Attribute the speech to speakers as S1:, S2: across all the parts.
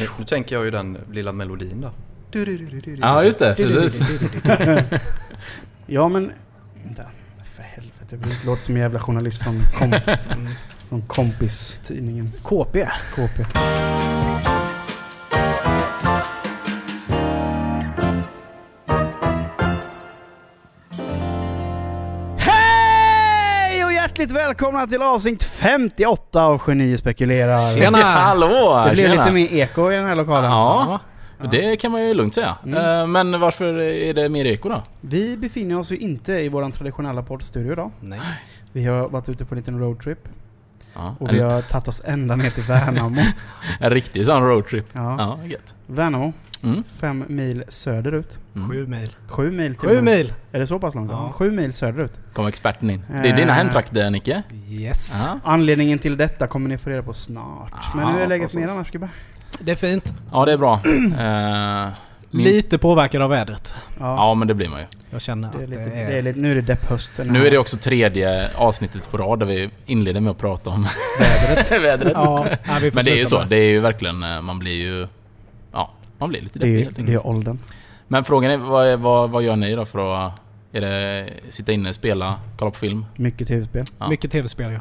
S1: Nu, nu tänker jag ju den lilla melodin där.
S2: Ja, just det. Precis.
S3: Ja, men... Vänta. För helvete. Jag vill inte låta som en jävla journalist från, komp
S2: Mm.
S3: från kompistidningen.
S4: KP.
S3: KP. Hej och hjärtligt välkomna till avsnitt 58 av Geni spekulerar.
S2: Tjena! Hallå!
S3: Det blev
S2: tjena.
S3: lite mer eko i den här lokalen.
S2: Ja, det kan man ju lugnt säga. Eh, Men varför är det mer eko då?
S3: Vi befinner oss ju inte i vår traditionella poddstudio idag.
S4: Nej.
S3: Vi har varit ute på en liten roadtrip
S2: Ja,
S3: och vi
S2: en,
S3: har tagit oss ända ner till Värnamo.
S2: en riktig sån roadtrip.
S3: Ja.
S2: Ja, gött.
S3: Värnamo,
S2: Mm.
S3: fem mil söderut.
S2: Mm.
S4: Sju mil.
S3: Sju mil till
S4: Sju
S3: och med.
S4: mil!
S3: Är det så pass långt?
S4: Ja.
S3: Ja. Sju mil söderut.
S2: Kom experten in. Det är dina
S3: Eh.
S2: hemtrakter, Nicke.
S4: Yes.
S2: Ja.
S3: Anledningen till detta kommer ni få reda på snart. Men hur
S2: Ja,
S3: är läget med er
S2: Ah, precis.
S3: annars Gubbe?
S4: Det är fint.
S2: ja, det är bra. Eh, Min-
S4: Lite påverkad av vädret.
S3: Ja,
S2: Ja, men det blir man ju.
S4: Jag känner att
S3: det är lite, det är lite, nu är det depphösten.
S2: Nu är det också tredje avsnittet på rad där vi inleder med att prata om vädret.
S4: Ja, nej, vi får
S2: Men det är ju
S4: sluta
S2: så.
S4: med
S2: Det är ju verkligen... eh, Man blir ju... Ja, man blir lite
S3: det är,
S2: deppig
S3: ju-
S2: helt
S3: det
S2: enkelt.
S3: är åldern.
S2: Men frågan är, vad, är- vad, vad gör ni då för att... Är det sitta inne, spela, kolla på film?
S3: Mycket tv-spel.
S2: Ja.
S4: Mycket tv-spel ja.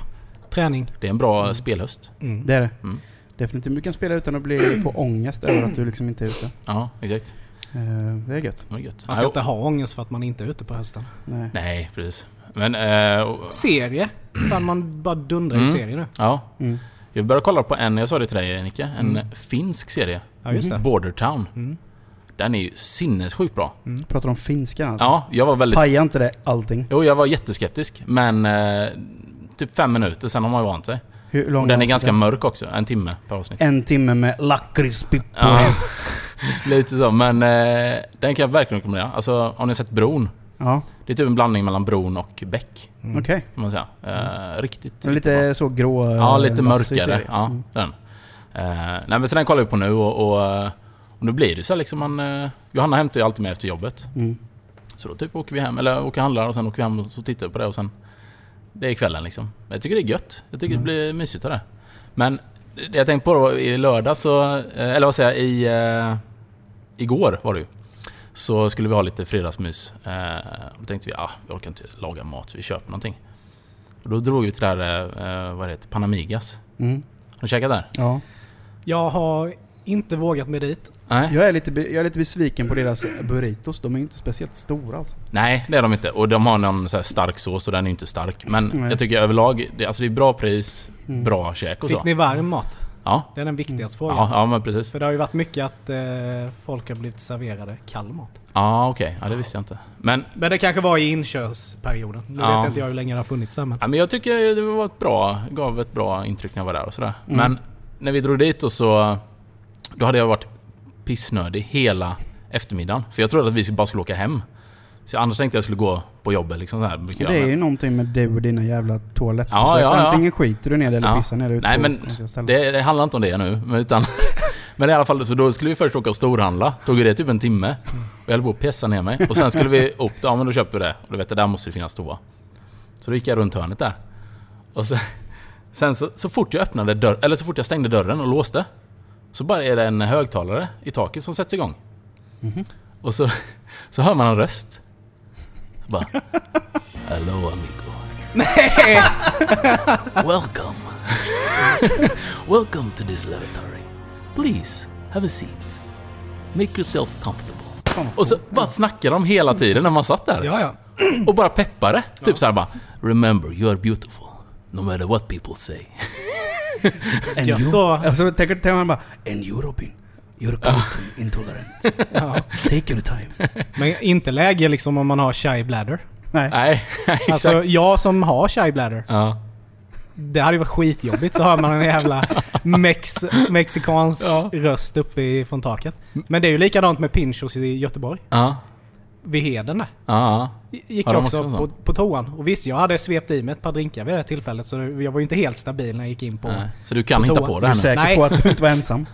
S4: Träning.
S2: Det är en bra spelhöst.
S4: Mm.
S3: Det är det.
S2: Mm.
S3: Definitivt. Du kan spela utan att bli, få ångest över att du liksom inte är ute.
S2: Ja, exakt.
S3: Eh, det är gött.
S2: Det var gött.
S4: Man ska
S2: Ja,
S4: inte ha ångest för att man inte är ute på hösten.
S3: Nej.
S2: Nej, precis. Men... eh, och-
S4: Serie. Fan man bara dundrar ju
S2: Mm.
S4: serier nu.
S2: ja.
S3: Mm.
S2: Jag började kolla på en, jag sa det till dig Nicke, en finsk serie.
S4: Ja just det.
S2: Border Town.
S4: Mm.
S2: Den är ju sinnessjukt bra.
S3: Pratar om finska alltså.
S2: Mm. Ja, jag var väldigt...
S3: Paja inte det allting?
S2: Jo, jag var jätteskeptisk. Men... Eh, typ fem minuter, sen har man ju vant sig.
S3: Hur
S2: Och
S3: lång
S2: den är
S3: avsnitt
S2: ganska mörk också. En timme per avsnitt.
S3: En timme med lakritspippor.
S2: Ja, lite så. Men eh, den kan jag verkligen rekommendera. Alltså, om ni har sett Bron.
S3: Ja,
S2: Det är typ en blandning mellan Bron och Beck.
S4: Mm.
S3: okej.
S2: Kan man säga. Eh, Riktigt.
S3: Så Mm. Lite så grå... eh,
S2: Ja, lite
S3: vassig
S2: mörkare.
S3: serie.
S2: Ja, den. Eh, nej, men så den kollar vi på nu och, och, eh, och nu blir det så här liksom man... Eh, Johanna hämtar ju alltid mig efter jobbet.
S3: Mm.
S2: Så då typ åker vi hem, eller åker och handlar och sen åker vi hem och så tittar vi på det och sen... Det är kvällen liksom. Jag tycker det är gött. Jag tycker det blir mysigt av det. Men det jag tänkte på då i lördag så... eh, Eller vad säger jag? I... Eh, igår var det ju. Så skulle vi ha lite fredagsmys. Eh, och då tänkte vi, ah, vi orkar inte laga mat, vi köper någonting. Och då drog vi till det här, eh, vad heter det, Panamigas.
S3: Mm.
S2: Har du käkat där?
S3: Ja.
S4: Jag har inte vågat mig dit.
S2: Nej.
S3: Jag, är lite, be- jag är lite besviken på deras burritos. De är ju inte speciellt stora alltså.
S2: Nej, det är de inte. Och de har någon så här stark sås och den är ju inte stark. Men
S3: Nej.
S2: jag tycker överlag, det, alltså det är bra pris, bra käk och så.
S4: Fick ni varm mat?
S2: Ja.
S4: Det är den viktigaste frågan.
S2: Ja, ja, men precis.
S4: För det har ju varit mycket att eh, folk har blivit serverade kall mat.
S2: Ja, okej. Ja, det visste jag inte. Men,
S4: Men det kanske var i inkörsperioden. Nu
S2: Ja.
S4: vet inte jag hur länge det har funnits här men...
S2: ja, men jag tycker det var ett bra, gav ett bra intryck när jag var där och sådär.
S3: Mm.
S2: Men när vi drog dit och så... Då hade jag varit pissnödig hela eftermiddagen. För jag trodde att vi bara skulle åka hem. Så annars tänkte jag skulle gå på jobbet liksom så här. brukar jag,
S3: det är
S2: men-
S3: ju någonting med du och dina jävla toalettbesök.
S2: Ja, ja, ja.
S3: Antingen skiter du ner det eller
S2: Ja.
S3: pissar ner det ute
S2: Nej
S3: på
S2: men
S3: olika ställen.
S2: det, det handlar inte om det nu. Men, utan, men i alla fall, så då skulle vi först åka och storhandla. Tog ju det typ en timme. Och jag höll på att pissa ner mig. Och sen skulle vi upp, ja men då köper vi det. Och du vet, det där måste ju finnas toa. Så då gick jag runt hörnet där. Och sen, sen så, så fort jag öppnade dörren, eller så fort jag stängde dörren och låste. Så bara är det en högtalare i taket som sätts igång.
S3: Mhm.
S2: Och så, så hör man en röst. Bara... Hello amigo. Welcome. Welcome to this laboratory. Please have a seat. Make yourself comfortable. Mm. Och så bara snackade de hela tiden när man satt där.
S4: Ja, ja.
S2: Och bara peppade. Typ så här bara... Remember, you are beautiful. No matter what people say.
S3: En
S4: Gött
S3: euro-
S4: då.
S3: Och så tänker tänker man bara En europin. You're content intolerant.
S4: Ja.
S3: Take your time.
S4: Men inte läge liksom om man har shy bladder.
S3: Nej.
S2: Nej, exakt.
S4: Alltså jag som har shy bladder.
S2: ja.
S4: Det hade ju varit skitjobbigt så hör man en jävla mex, mexikansk
S2: Ja.
S4: röst uppe från taket. Men det är ju likadant med Pinchos i Göteborg.
S2: Ja.
S4: Vid Heden där.
S2: Ja.
S4: Gick
S2: Har de
S4: jag också,
S2: också en
S4: på,
S2: sån?
S4: på toan. Och visst, jag hade svept i mig ett par drinkar vid det här tillfället så jag var ju inte helt stabil när jag gick in på...
S2: Nej. Så du kan
S4: På
S2: hitta
S4: toa.
S2: på
S3: Du
S2: det
S3: är
S2: här nu?
S3: säker
S4: Nej.
S3: på att du inte var ensam?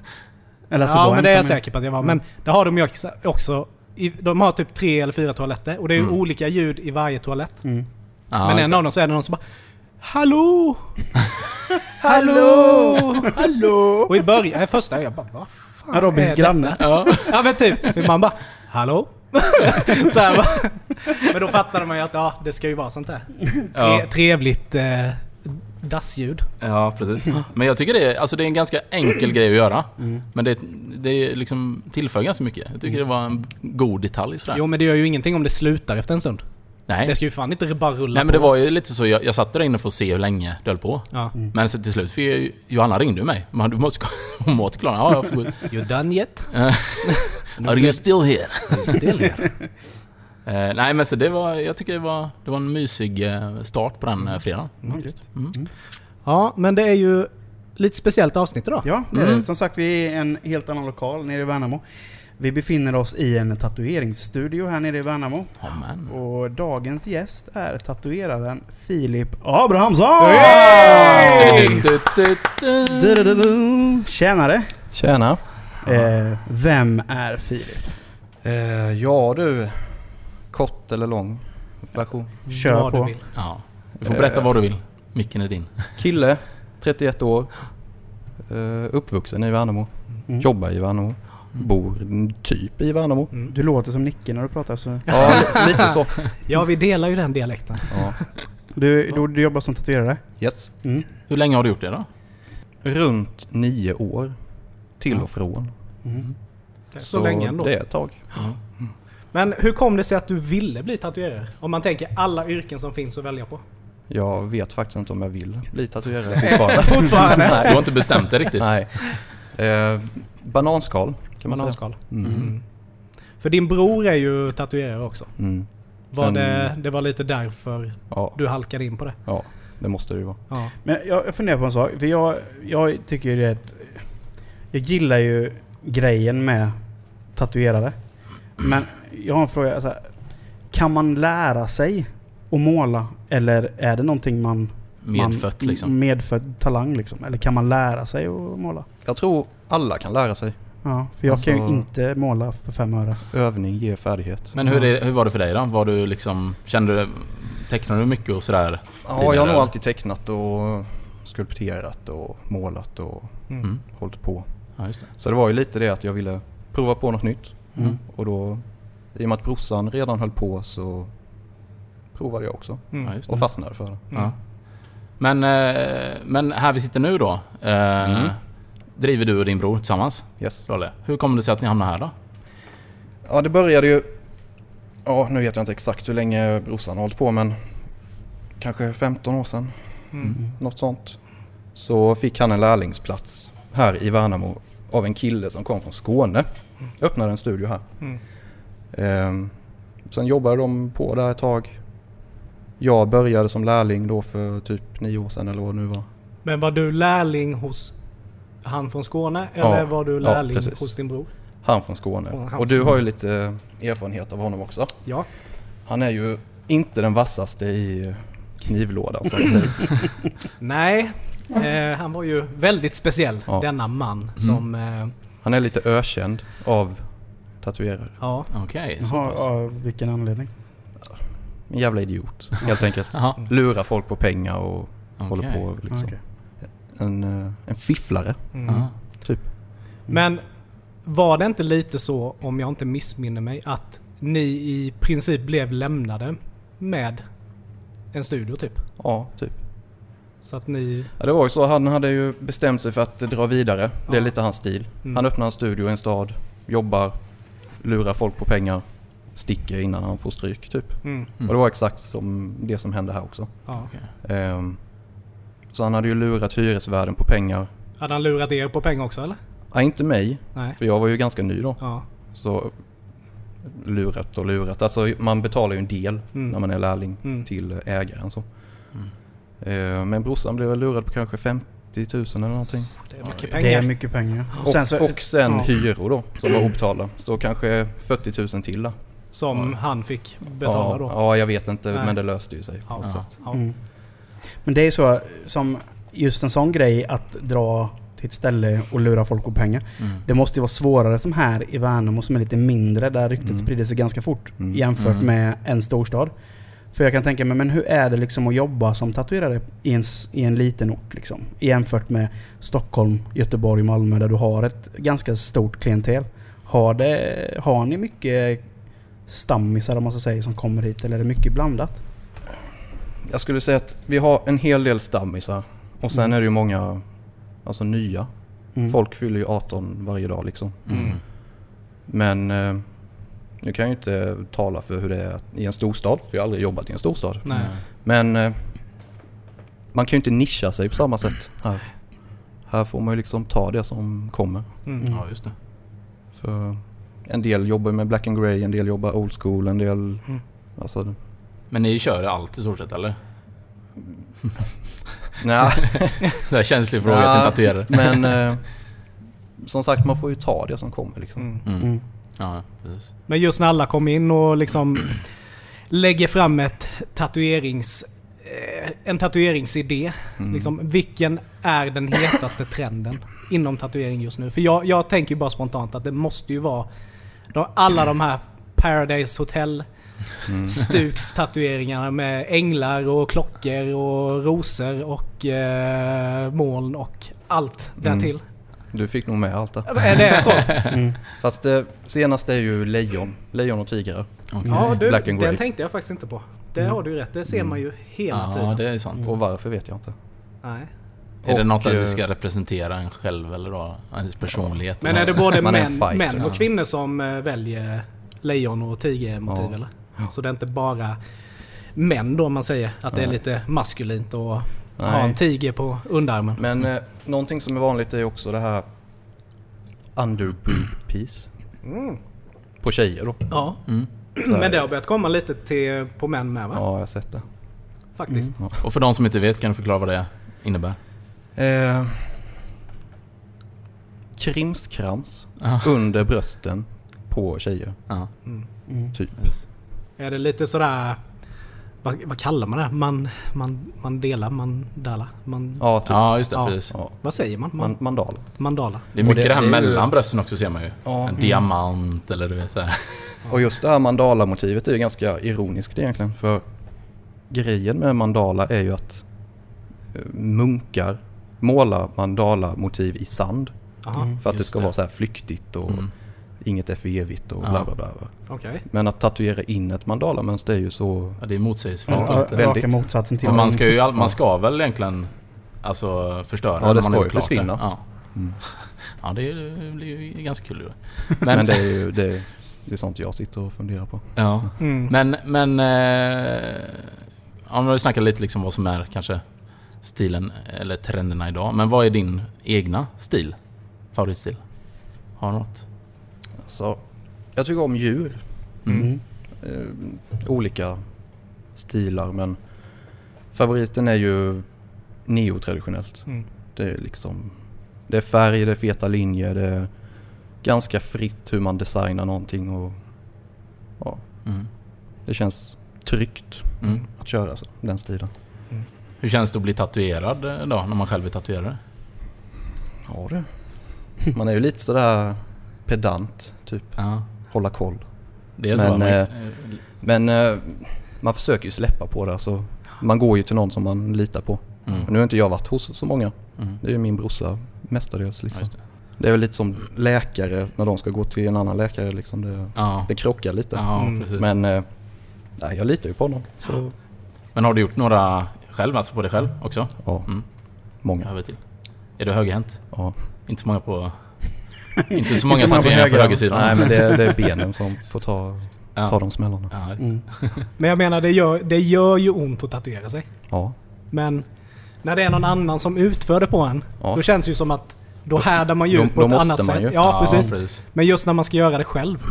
S3: Eller att du
S4: Ja,
S3: var
S4: men
S3: ensam?
S4: det är jag
S3: igen?
S4: säker på att jag var.
S2: Mm.
S4: Men det har de ju också- också... i- De har typ tre eller fyra toaletter och det är
S2: Mm.
S4: ju olika ljud i varje toalett.
S2: Ja,
S4: men en
S2: exakt.
S4: av dem så är det någon som bara Hallå! Hallå! Hallå! Och i början, första jag bara va fan
S3: Ja, Robins
S4: är det?
S3: granne.
S2: Ja.
S4: Ja men typ. Man bara Hallå? så här, bara. Men då fattade man ju att ja, det ska ju vara sånt där. Tre,
S2: Ja.
S4: trevligt eh, dassljud.
S2: ja, precis. Men jag tycker det är, alltså det är en ganska enkel grej att göra. Men det, det liksom tillför ganska mycket. Jag tycker det var en god detalj sådär.
S4: Jo men det gör ju ingenting om det slutar efter en stund.
S2: Nej.
S4: Det ska ju fan inte bara rulla
S2: Nej men det
S4: på.
S2: var ju lite så, jag, jag satt där inne för att se hur länge det höll på.
S4: Ja.
S2: Men så till slut fick jag ju, Johanna ringde ju mig. Man, du måste gå- hon åt klart. Ja, jag får gå ut.
S4: You're done yet?
S2: Are you still here?
S4: Still here.
S2: Eh, nej men så det var, jag tycker det var, det var en mysig eh, start på den eh, fredagen. faktiskt. Mm.
S4: Ja, men det är ju lite speciellt avsnitt idag.
S3: Ja, det är det.
S2: Mm.
S3: Som sagt, vi är i en helt annan lokal nere i Värnamo. Vi befinner oss i en tatueringsstudio här nere i Värnamo.
S2: Ja, men.
S3: Och dagens gäst är tatueraren Filip Abrahamsson!
S2: Du, du, du.
S3: Du-du-du-du. Tjenare!
S1: Tjena.
S3: Eh, vem är Filip?
S1: Eh, ja du. Kort eller lång version.
S3: Kör
S4: Vad du
S3: på.
S4: vill.
S2: Ja. Du får berätta vad du vill. Micken är din.
S1: Kille, 31 år. Eh, uppvuxen i Värnamo.
S3: Mm.
S1: Jobbar i Värnamo. Bor typ i Värnamo.
S3: Du låter som Nicke när du pratar. Så.
S1: Ja, li- lite så.
S4: Ja, vi delar ju den dialekten.
S1: Ja.
S3: Du, du, du jobbar som tatuerare?
S1: Yes.
S3: Mm.
S2: Hur länge har du gjort det då?
S1: Runt nio år. Till och från.
S3: Mm.
S4: Så, länge ändå.
S1: Det är ett tag.
S4: Men hur kom det sig att du ville bli tatuerare? Om man tänker alla yrken som finns att välja på.
S1: Jag vet faktiskt inte om jag vill bli tatuerare fortfarande.
S4: Fortfarande.
S2: Du har inte bestämt dig riktigt?
S1: Nej. Eh, bananskal kan man säga.
S4: Bananskal. Mm. För din bror är ju tatuerare också.
S1: Mm.
S4: Var
S1: Sen-
S4: det, det var lite därför
S1: Ja,
S4: du halkade in på det?
S1: ja, det måste det ju vara.
S4: Ja.
S3: Men jag, jag funderar på en sak. För jag, jag tycker ju det är ett, Jag gillar ju grejen med tatuerare. Men jag har en fråga. Alltså, kan man lära sig att måla? Eller är det någonting man...
S2: Medfött
S3: man,
S2: liksom?
S3: Medfödd talang liksom. Eller kan man lära sig att måla?
S1: Jag tror alla kan lära sig.
S3: Ja, för jag kan ju
S1: Alltså-
S3: inte måla för fem öre.
S1: Övning ger färdighet.
S2: Men hur, är, hur var det för dig då? Var du liksom, kände du, tecknade du mycket och sådär?
S1: Ja,
S2: Tidigare.
S1: jag har nog alltid tecknat och skulpterat och målat och
S2: Mm.
S1: hållit på.
S2: Ja, just det.
S1: Så det var ju lite det att jag ville prova på något nytt.
S3: Mm.
S1: Och då, i och med att brorsan redan höll på så provade jag också.
S2: Ja,
S4: Mm.
S2: just det.
S1: Och fastnade för det.
S2: Ja. Men, eh, men här vi sitter nu då. eh,
S1: Mm.
S2: Driver du och din bror tillsammans?
S1: Yes.
S2: Rolle. Hur kommer det sig att ni hamnar här då?
S1: Ja, det började ju... Ja, nu vet jag inte exakt hur länge brorsan har hållit på men kanske 15 år sedan.
S4: Mm.
S1: något sånt. Så fick han en lärlingsplats här i Värnamo av en kille som kom från Skåne. Öppnade en studio här.
S4: Mm.
S1: Ehm, sen jobbade de på där ett tag. Jag började som lärling då för typ nio år sedan eller vad det nu var.
S4: Men var du lärling hos han från Skåne? Eller
S1: Ja.
S4: var du
S1: Ja,
S4: lärling
S1: precis.
S4: hos din bror?
S1: Han från Skåne.
S4: Och han
S1: Och du har ju lite eh, erfarenhet av honom också.
S4: Ja.
S1: Han är ju inte den vassaste i knivlådan så att säga.
S4: Nej, eh, han var ju väldigt speciell
S1: Ja. Mm.
S4: denna man som... Eh,
S1: Han är lite ökänd av tatuerare.
S4: ja.
S2: Okej, så
S3: Jaha,
S2: pass.
S3: av vilken anledning?
S1: En jävla idiot helt enkelt.
S2: Jaha,
S1: Lurar folk på pengar och håller
S2: okej.
S1: på liksom.
S3: Okej.
S1: en, eh, en fifflare.
S4: Mm.
S2: Ja.
S1: Typ.
S4: Men var det inte lite så, om jag inte missminner mig, att ni i princip blev lämnade med en studio typ?
S1: Ja, typ.
S4: Så att ni...
S1: Ja, det var ju så. Han hade ju bestämt sig för att dra vidare. Det är
S4: Ja.
S1: lite hans stil.
S4: Mm.
S1: Han öppnar en studio i en stad, jobbar, lurar folk på pengar, sticker innan han får stryk typ.
S4: Mm,
S1: Och det var exakt som det som hände här också.
S4: ja.
S2: Okej.
S1: Ehm, så han hade ju lurat hyresvärden på pengar.
S4: Hade han lurat er på pengar också eller?
S1: Ja, inte mig,
S4: Nej.
S1: för jag var ju ganska ny då.
S4: Ja.
S1: Så lurat och lurat. Alltså man betalar ju en del
S4: Mm.
S1: när man är lärling
S4: Mm.
S1: till ägaren så.
S3: Mm.
S1: Eh, Men brorsan blev väl lurad på kanske 50 000 eller någonting.
S4: Det är mycket
S3: Det är
S4: pengar.
S3: mycket pengar.
S1: Och
S3: Sen
S1: sen,
S3: så-
S1: och sen
S3: ja.
S1: hyror då som var obetalda. Så kanske 40 000 till då.
S4: Som han fick betala
S1: ja,
S4: då.
S1: ja, jag vet inte
S4: Nej.
S1: men det löste ju sig. på
S4: Ja.
S1: något sätt.
S4: Ja.
S3: Mm. Men det är så som just en sån grej att dra till ett ställe och lura folk på pengar.
S2: Mm.
S3: Det måste ju vara svårare som här i Värnamo som är lite mindre där ryktet
S1: Mm.
S3: sprider sig ganska fort
S1: Mm.
S3: jämfört
S2: Mm.
S3: med en storstad. För jag kan tänka mig, men hur är det liksom att jobba som tatuerare i en, s- i en liten ort liksom? Jämfört med Stockholm, Göteborg, Malmö där du har ett ganska stort klientel. Har, det, har ni mycket stammisar om man så säger som kommer hit eller är det mycket blandat?
S1: Jag skulle säga att vi har en hel del stammisar och sen
S3: Mm.
S1: är det ju många alltså nya.
S3: Mm.
S1: Folk fyller ju 18 varje dag liksom.
S2: Mm.
S1: Men eh, nu kan jag ju inte tala för hur det är i en storstad, för jag har aldrig jobbat i en storstad.
S4: Nej.
S1: Men eh, man kan ju inte nischa sig på samma sätt här. Här får man ju liksom ta det som kommer.
S4: Mm.
S2: Ja, just det.
S1: För en del jobbar med black and grey, en del jobbar old school, en del...
S4: Mm.
S1: Alltså,
S2: Men ni kör allt i stort sett eller?
S1: nej,
S2: Det är känslig fråga till en
S1: Ja.
S2: tatuerare.
S1: men eh, som sagt man får ju ta det som kommer liksom.
S4: Mm.
S2: Mm.
S3: Mm.
S2: Ja, precis.
S4: Men just när alla kom in och liksom lägger fram ett tatuerings, eh, en tatueringsidé. Liksom, vilken är den hetaste trenden inom tatuering just nu? För jag, jag tänker ju bara spontant att det måste ju vara de, alla de här Paradise Hotel Stuks tatueringarna med änglar och klockor och rosor och eh, moln och allt därtill.
S1: Du fick nog med allt det.
S4: Är det så?
S1: Fast det senaste är ju lejon. Lejon och tigrar.
S2: Okej.
S4: Ja, du,
S1: Eh, Black and Mm. grey.
S4: den tänkte jag faktiskt inte på. Det har du rätt, det ser man ju hela
S2: Ja,
S4: tiden.
S2: det är sant.
S4: Mm.
S1: Och varför vet jag inte.
S4: Nej.
S2: Är det
S1: Och,
S2: något att
S1: eh,
S2: du ska representera en själv eller då? Ens personlighet?
S4: Men är det både
S1: Man är
S4: män,
S1: en fighter,
S4: män
S2: ja.
S4: och kvinnor som eh, väljer lejon och tigermotiv
S1: Ja.
S4: eller? Så det är inte bara män då om man säger att det är lite maskulint att ha
S1: Nej.
S4: en tiger på underarmen.
S1: Men eh, någonting som är vanligt är också det här underboob piece.
S4: Mm.
S1: På tjejer då.
S4: Ja.
S2: Mm.
S4: Men det har börjat komma lite till, på män med va?
S1: Ja, jag har sett det.
S4: Faktiskt.
S2: Och för de som inte vet, kan du förklara vad det innebär?
S1: Eh, krimskrams
S2: Ja.
S1: under brösten på tjejer.
S2: Ja.
S1: Typ.
S4: Är det lite sådär... Vad, vad kallar man det? Man, man, man delar, man dalar, man...
S1: Ja, typ.
S2: ja, just det.
S4: Ja.
S2: Precis.
S1: Ja.
S4: Vad säger man? man
S1: Man, mandal.
S4: mandala?
S2: Det är mycket
S1: Och det-
S2: det, här
S1: det är ju-
S2: mellan brösten också ser man ju.
S1: Ja.
S2: en
S1: Mm.
S2: diamant eller du vet såhär.
S1: Och just det här mandala-motivet är ju ganska ironiskt egentligen. För grejen med mandala är ju att eh, munkar målar mandala-motiv i sand.
S4: Jaha,
S1: För att det
S2: Just
S1: ska
S2: det.
S1: vara så här flyktigt och
S2: Mm.
S1: inget är för evigt och
S2: Ja.
S1: bla bla bla. bla.
S4: okej.
S1: Men att tatuera in ett mandalamönster är ju så...
S2: Ja, det är motsägelsefullt.
S3: Ja,
S2: inte?
S1: väldigt.
S3: raka motsatsen till
S2: För man ska ju, all- man ska väl egentligen alltså förstöra
S1: Ja,
S2: när
S1: det
S2: man
S1: ska
S2: har
S1: ju
S2: gjort klart
S1: försvinna.
S2: det. Ja,
S1: Mm.
S2: ja det, är, det blir ju ganska kul. ju.
S1: Men,
S2: Men,
S1: det är ju det, är- det är sånt jag sitter och funderar på.
S2: ja.
S4: Mm.
S2: men, men eh, ja, nu har vi snackat lite liksom vad som är kanske stilen eller trenderna idag. Men vad är din egna stil? Favoritstil? Har du något?
S1: Alltså, jag tycker om djur.
S3: Mm.
S1: eh, olika stilar men favoriten är ju neotraditionellt.
S4: Mm.
S1: Det är liksom det är färg, det är feta linjer, det är ganska fritt hur man designar någonting och ja,
S2: Mm.
S1: det känns tryggt
S2: Mm.
S1: att köra så, den stilen.
S2: Hur känns det att bli tatuerad eh, då, när man själv är tatuerare?
S1: Ja du. Man är ju lite sådär pedant, typ
S2: Ja,
S1: hålla koll.
S2: det är så.
S1: Men,
S2: va?
S1: eh, Men eh, man försöker ju släppa på det alltså. Man går ju till någon som man litar på.
S2: Mm.
S1: Och nu har inte jag varit hos så många.
S2: Mm.
S1: Det är ju min brorsa mestadels.
S2: Ja,
S1: Liksom.
S2: just det.
S1: det. är väl lite som läkare när de ska gå till en annan läkare. Liksom. Det,
S2: Ja,
S1: det krockar lite.
S2: ja
S4: Mm.
S2: precis.
S1: Men eh, nej, jag litar ju på honom. Så,
S2: Men har du gjort några själv, alltså på dig själv också?
S1: ja,
S2: Mm.
S1: många.
S2: Över till. Är du högerhänt?
S1: Ja.
S2: Inte så många på... Inte så många
S3: Inte så många på
S2: tatueringar på,
S3: höger.
S2: högersidan.
S1: Nej, men det, det är benen som får ta,
S2: ja.
S1: ta de smällarna.
S2: Ja.
S3: Mm.
S4: Men jag menar, det gör, det gör ju ont att tatuera sig.
S1: Ja.
S4: Men när det är någon annan som utför det på en,
S1: Ja.
S4: då känns det ju som att då härdar man ju
S1: Då-
S4: ut på
S1: då
S4: ett
S1: måste
S4: annat
S1: man
S4: sätt.
S1: ju. Mm.
S4: Ja, precis. Men just när man ska göra det själv.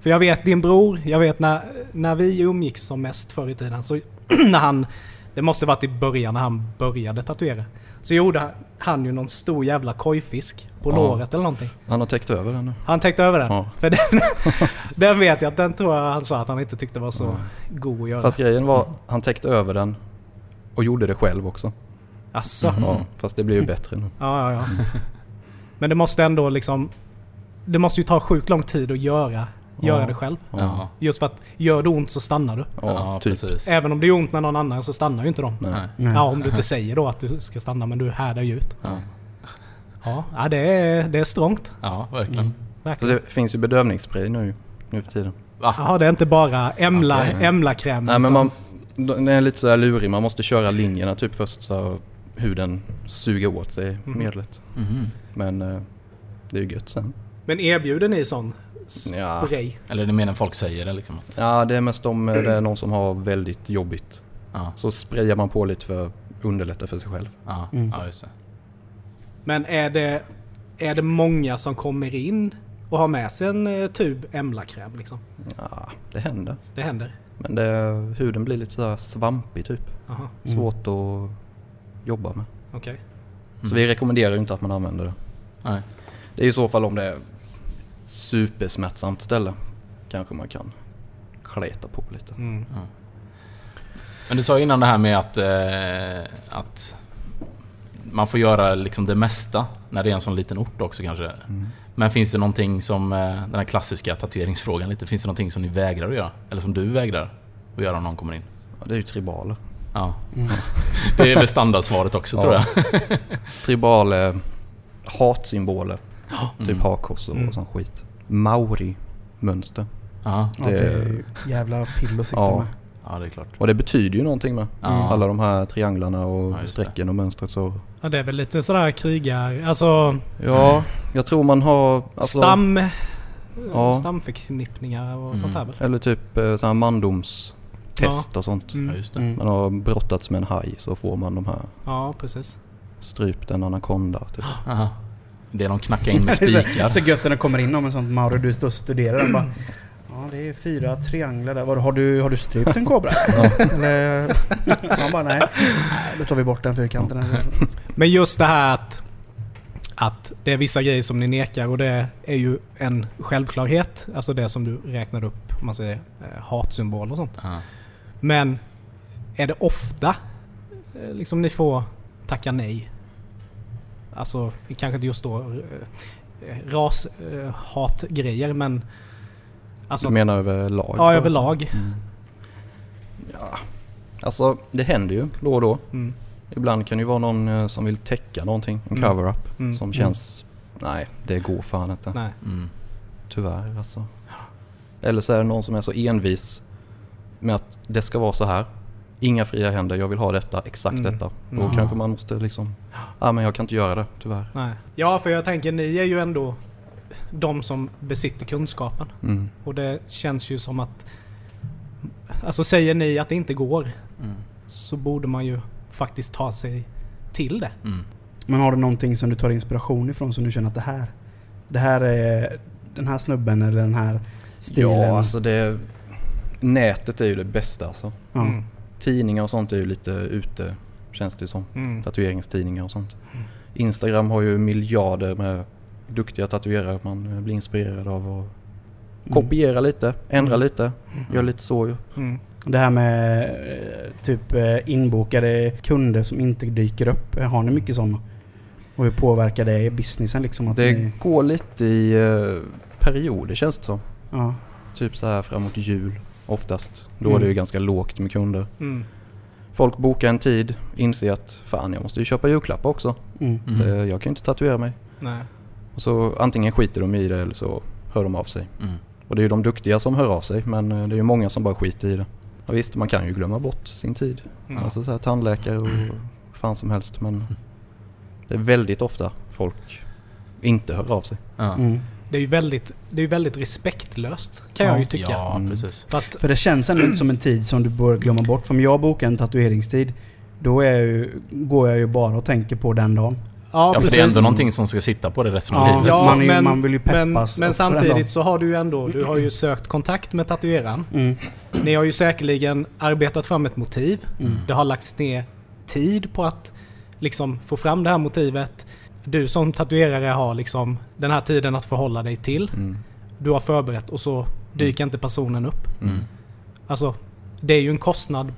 S4: För jag vet din bror, jag vet när, när vi umgicks som mest förr i tiden. Så när han, det måste varit i början när han började tatuera. Så gjorde han ju någon stor jävla kojfisk på
S1: Ja.
S4: låret eller någonting.
S1: Han har täckt över den nu.
S4: Han täckte över den.
S1: Ja.
S4: För den, den vet jag att den tror jag han sa att han inte tyckte var så god att göra.
S1: Fast grejen var, han täckte över den och gjorde det själv också.
S2: Mm.
S4: Asså.
S1: Ja, fast det blir ju bättre nu.
S4: Ja, ja, ja. Men det måste ändå liksom... Det måste ju ta sjukt lång tid att göra göra
S1: Ja.
S4: det själv.
S2: Ja,
S4: Just för att gör det ont så stannar du.
S1: Ja,
S2: ja
S1: typ.
S2: precis.
S3: Eh,
S4: Även om det gör ont när någon annan så stannar ju inte de.
S1: Nej.
S2: Nej.
S3: Nej.
S4: Ja, om du inte säger då att du ska stanna men du härdar ju ut.
S2: Ja.
S4: Ja, ja, det är, det är strångt.
S2: ja,
S3: Mm.
S2: verkligen.
S1: Så
S4: Verkligen.
S1: Alltså, det finns ju bedövningsspray nu, nu för tiden.
S2: Va?
S4: Jaha, det är inte bara emla, liksom.
S1: Okej.
S4: Emla-krämen
S1: Nej men
S4: som-
S1: man, den är lite så här lurig. Man måste köra linjerna typ först så huden suger åt sig medlet.
S2: Mhm.
S1: Men eh, det är ju gött sen.
S4: Men erbjuder ni sån spray?
S1: Ja.
S2: Eller det menar folk säger det liksom. Att,
S1: ja, det är mest om eh, det är någon som har väldigt jobbigt.
S2: ja,
S1: Så sprayar man på lite för att underlätta för sig själv.
S2: ja,
S3: Mm.
S2: ja, just det.
S4: Men är det, är det många som kommer in och har med sig en eh, tub Emla-kräm liksom?
S1: Ja, det händer.
S4: Det händer?
S1: Men det, huden blir lite så här svampig typ.
S4: Jaha,
S2: Mm.
S1: Svårt att jobba med.
S4: okej.
S2: Mm.
S1: Så vi rekommenderar ju inte att man använder det.
S2: Nej.
S1: Det är i så fall om det är ett supersmärtsamt ställe. Kanske man kan kleta på lite.
S4: Mm.
S2: Men du sa ju innan det här med att, eh, att man får göra liksom det mesta när det är en sån liten ort också kanske.
S1: Mm.
S2: Men finns det någonting som, eh, den här klassiska tatueringsfrågan lite, finns det någonting som ni vägrar att göra? Eller som du vägrar att göra om någon kommer in?
S1: Ja, det är ju tribaler.
S2: Ja.
S3: Mm.
S2: Det är väl standardsvaret också tror jag.
S1: Tribal är hatsymboler. Typ hakkors och
S4: Mm.
S1: sån skit. Maori-mönster.
S2: Ja,
S3: Ja, det är ju jävla pill att sitta
S1: Ja.
S3: med.
S2: ja det är klart.
S1: Och det betyder ju någonting med. Alla de här trianglarna och
S2: Ja, just det.
S1: strecken och mönstret. Så.
S4: Ja, det är väl lite sådär krigar... Alltså,
S1: Ja, jag tror man har... alltså-
S4: stam...
S1: Ja.
S4: Stamförknippningar och sånt här väl?
S1: Eller typ eh, sån här mandomstest och sånt.
S2: Ja,
S4: Mm.
S2: just det.
S3: Mm.
S1: Man har brottats med en haj så får man de här
S4: Ja, precis.
S1: strypt en anakonda. Typ.
S2: Aha. Det är de knackar in med
S3: Det är så,
S2: spikar.
S3: så gött när det kommer in om en sån Mauro, du står och studerar den bara. Ja, det är fyra trianglar där. Vadå, Har du, har du strypt en kobra? Eller? Man bara, nej. Nej, Då tar vi bort den fyrkanten. Eller-
S4: Men just det här att, att det är vissa grejer som ni nekar och det är ju en självklarhet. Alltså det som du räknade upp, om man säger eh, hatsymbol och sånt.
S2: Ja.
S4: Men är det ofta eh, liksom ni får tacka nej? Alltså kanske inte just då eh, rashatgrejer men... Alltså,
S1: Du menar överlag?
S4: ja, överlag.
S1: typ. Alltså det händer ju då och då.
S4: Mm.
S1: Ibland kan det ju vara någon eh, som vill täcka någonting, en
S4: Mm.
S1: cover-up.
S4: Mm.
S1: Som känns... Nej, det går fan inte.
S4: Nej.
S2: Mm.
S1: Tyvärr alltså. Eller så är det någon som är så envis med att det ska vara så här. Inga fria händer, jag vill ha detta, exakt
S4: Mm.
S1: detta. Då
S4: Mm.
S1: kanske man måste liksom... Ja men jag kan inte göra det, tyvärr.
S4: Nej. Ja, för jag tänker ni är ju ändå de som besitter kunskapen.
S1: Mm.
S4: Och det känns ju som att... Alltså säger ni att det inte går
S2: Mm.
S4: så borde man ju faktiskt ta sig till det.
S2: Mm.
S3: Men har du någonting som du tar inspiration ifrån som du känner att det här, det här är den här snubben eller den här stilen?
S1: Ja, alltså det... Nätet är ju det bästa alltså.
S3: Ja.
S4: Mm.
S1: Tidningar och sånt är ju lite ute, känns det ju som.
S4: Mm.
S1: Tatueringstidningar och sånt. Instagram har ju miljarder med duktiga tatuerare man eh, blir inspirerad av. Och kopiera lite, ändra lite, gör lite så ju.
S4: Mm.
S3: Det här med eh, typ eh, inbokade kunder som inte dyker upp. Har ni mycket sådana? Och hur påverkar det i businessen liksom? Att
S1: Det
S3: ni,
S1: går lite i eh, perioder känns det som.
S3: ja.
S1: Typ så här framåt jul oftast. Då är
S3: Mm.
S1: det ju ganska lågt med kunder.
S4: Mm.
S1: Folk bokar en tid, inser att fan jag måste ju köpa julklappar också.
S3: mm.
S2: Mm.
S1: Eh, Jag kan ju inte tatuera mig.
S4: Nej.
S1: Och så antingen skiter de i det eller så hör de av sig.
S2: Mm.
S1: Och det är ju de duktiga som hör av sig men eh, det är ju många som bara skiter i det. Ja, visst, man kan ju glömma bort sin tid.
S4: Mm.
S1: Alltså så här, tandläkare
S2: Mm.
S1: och fan som helst men det är väldigt ofta folk inte hör av sig.
S2: Ja.
S3: Mm.
S4: Det är ju väldigt, det är ju väldigt respektlöst kan
S3: Ja.
S4: jag ju tycka.
S2: Ja,
S1: Mm.
S2: precis.
S4: För att,
S3: För det känns ändå inte som en tid som du bör glömma bort. För om jag bokar en tatueringstid, då är jag ju, går jag ju bara och tänker på den dagen.
S2: Ja, för
S4: precis.
S2: det är ändå någonting som ska sitta på det resten av
S3: Ja.
S2: livet.
S4: Ja,
S3: Man är ju-
S4: men,
S3: man vill ju
S4: men,
S3: peppas
S4: men
S3: upp för den dagen.
S4: samtidigt så har du ju ändå du har ju sökt kontakt med tatueraren.
S3: Mm.
S4: Ni har ju säkerligen arbetat fram ett motiv.
S3: Mm.
S1: Mm.
S4: Det har lagts ner tid på att liksom få fram det här motivet. Du som tatuerare har liksom den här tiden att förhålla dig till.
S1: Mm.
S4: Du har
S2: Mm.
S4: förberett och så dyker inte personen upp. Alltså, det är ju en kostnad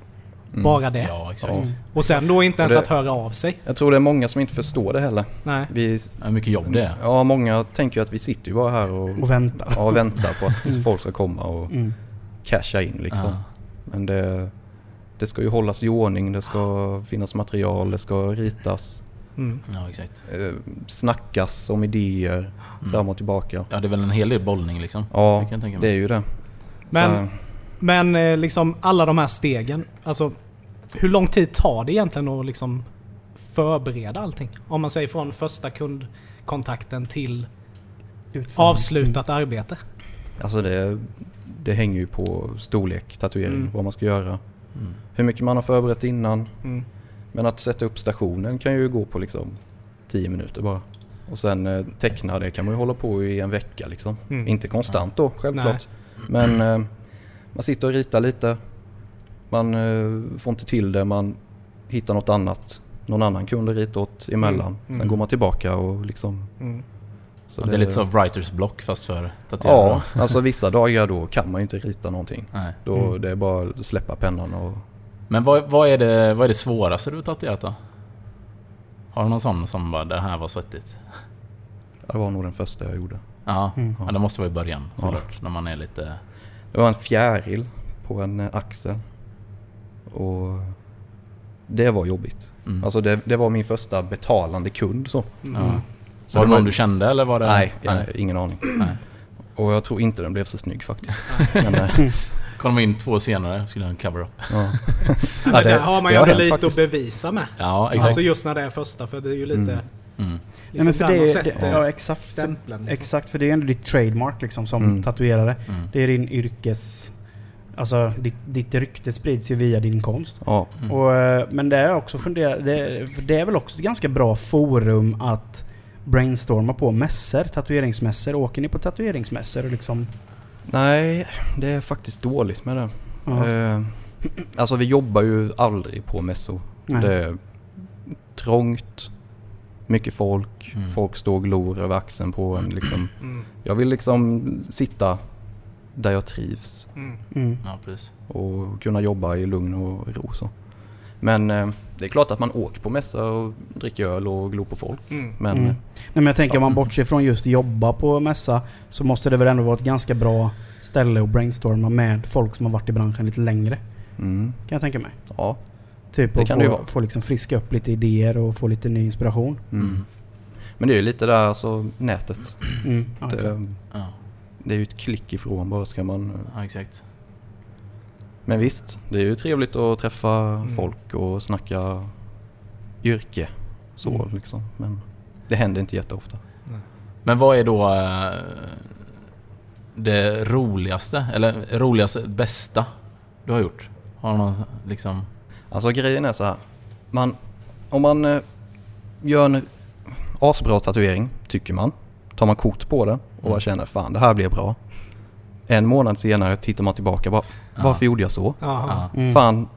S4: Bara det.
S2: Ja, exakt.
S1: Mm. Ja.
S4: Och sen då inte ens
S1: det-
S4: att höra av sig.
S1: Jag tror det är många som inte förstår det heller.
S4: Nej.
S1: Vi,
S2: Ja, Hur mycket jobb det är.
S1: ja, många tänker ju att vi sitter ju bara här och,
S3: Och vänta.
S1: ja, och väntar på att folk ska komma och
S3: Mm.
S1: casha in liksom.
S2: Ja.
S1: Men det, det ska ju hållas i ordning, det ska finnas material, det ska ritas,
S4: Mm.
S2: Ja, exakt.
S1: eh, snackas om idéer fram och tillbaka.
S2: Ja, det är väl en hel del bollning liksom.
S1: Ja,
S2: Det kan jag tänka mig.
S1: Mm. det är ju det.
S4: Men-
S1: Så,
S4: Men eh, liksom alla de här stegen. Alltså, hur lång tid tar det egentligen att liksom förbereda allting? Om man säger från första kundkontakten till avslutat arbete.
S1: alltså det, det hänger ju på storlek, tatuering,
S4: Mm.
S1: vad man ska göra.
S2: Mm.
S1: Hur mycket man har förberett innan.
S4: Mm.
S1: Men att sätta upp stationen kan ju gå på liksom 10 minuter bara. Och sen eh, teckna, det kan man ju hålla på i en vecka liksom.
S4: Mm.
S1: Inte konstant då, självklart. Men eh, man sitter och ritar lite. Man eh, får inte till det, man hittar något annat. Någon annan kund att rita åt emellan.
S4: Mm.
S1: Sen
S4: Mm.
S1: går man tillbaka och liksom...
S4: Mm.
S1: så
S2: Ja, det är lite som writers block fast för tatuerare.
S1: Ja, alltså vissa dagar då kan man ju inte rita någonting.
S2: Nej.
S1: Då
S4: Mm.
S1: det är bara att släppa pennan och...
S2: Men vad, vad, är det, vad är det svåraste du har tatuerat då? Har du någon sån som bara det här var svettigt?
S1: Ja, det var nog den första jag gjorde.
S2: Ja,
S3: Mm.
S2: ja det måste vara i början såklart. När man är lite...
S1: Det var en fjäril på en eh, axel. Och det var jobbigt.
S2: Mm.
S1: Alltså det, det var min första betalande kund så. Så
S2: ja. var det
S1: det var-
S2: någon du kände eller var det...
S1: Nej, jag, ingen aning.
S2: Nej.
S1: Och jag tror inte den blev så snygg faktiskt. Men, eh,
S2: Kom in två år senare skulle jag ha en cover-up.
S1: ja.
S4: Men
S1: Ja, det-
S4: där har man
S1: det
S4: ju
S1: har
S4: ändå
S1: hänt
S4: lite
S1: faktiskt.
S4: att bevisa med.
S2: Ja, exakt.
S4: Alltså just när det är första, för det är ju lite... liksom
S1: Mm.
S2: Mm.
S3: Nej, men för
S4: där
S3: det
S4: man
S3: är, det,
S4: sätter
S3: ja, exakt.
S4: stämpeln. Liksom.
S3: Exakt, för det är ändå ditt trademark liksom som
S1: Mm.
S3: tatuerare.
S2: Mm.
S3: Det är din yrkes... Alltså ditt, ditt rykte sprids ju via din konst.
S1: ja.
S2: Mm.
S3: Och, eh, men det är också fundera, det, för det är väl också ett ganska bra forum att brainstorma på mässor, tatueringsmässor. Åker ni på tatueringsmässor och liksom...
S1: Nej, det är faktiskt dåligt med det.
S3: Ja.
S1: Eh, alltså vi jobbar ju aldrig på mässor.
S3: Nej.
S1: Det är trångt, mycket folk,
S2: Mm.
S1: folk står och glor över axeln på en. Liksom.
S4: Mm.
S1: Jag vill liksom sitta där jag trivs
S4: Mm.
S3: Mm.
S2: Ja, precis.
S1: och kunna jobba i lugn och ro. Så. Men eh, det är klart att man åker på mässa och dricker öl och glor på folk.
S4: Mm.
S1: Men
S3: Mm.
S1: eh,
S3: Nej, men jag tänker om man bortser från just jobba på mässa så måste det väl ändå vara ett ganska bra ställe att brainstorma med folk som har varit i branschen lite längre.
S1: mm,
S3: Kan jag tänka mig.
S1: ja.
S3: Typ
S1: Det
S3: att
S1: kan det ju
S3: få,
S1: vara.
S3: få liksom friska upp lite idéer och få lite ny inspiration.
S1: Mm. Men det är ju lite där alltså nätet.
S3: Mm. Ja, exakt.
S1: det,
S2: Ja,
S1: det är ju ett klick ifrån bara ska man... eh,
S2: ja, exakt.
S1: Men visst, det är ju trevligt att träffa
S3: Mm.
S1: folk och snacka yrke. Så
S3: Mm.
S1: liksom. Men det händer inte jätteofta.
S2: Men vad är då eh, det roligaste, eller roligaste, bästa du har gjort? Har du någon liksom...
S1: Alltså grejen är så här. Man, om man eh, gör en asbra tatuering, tycker man. Tar man kort på det och
S2: Mm.
S1: bara känner fan det här blev bra. En månad senare tittar man tillbaka bara, varför gjorde jag så?
S4: Jaha.
S2: Ja.
S3: Mm.
S1: Fan,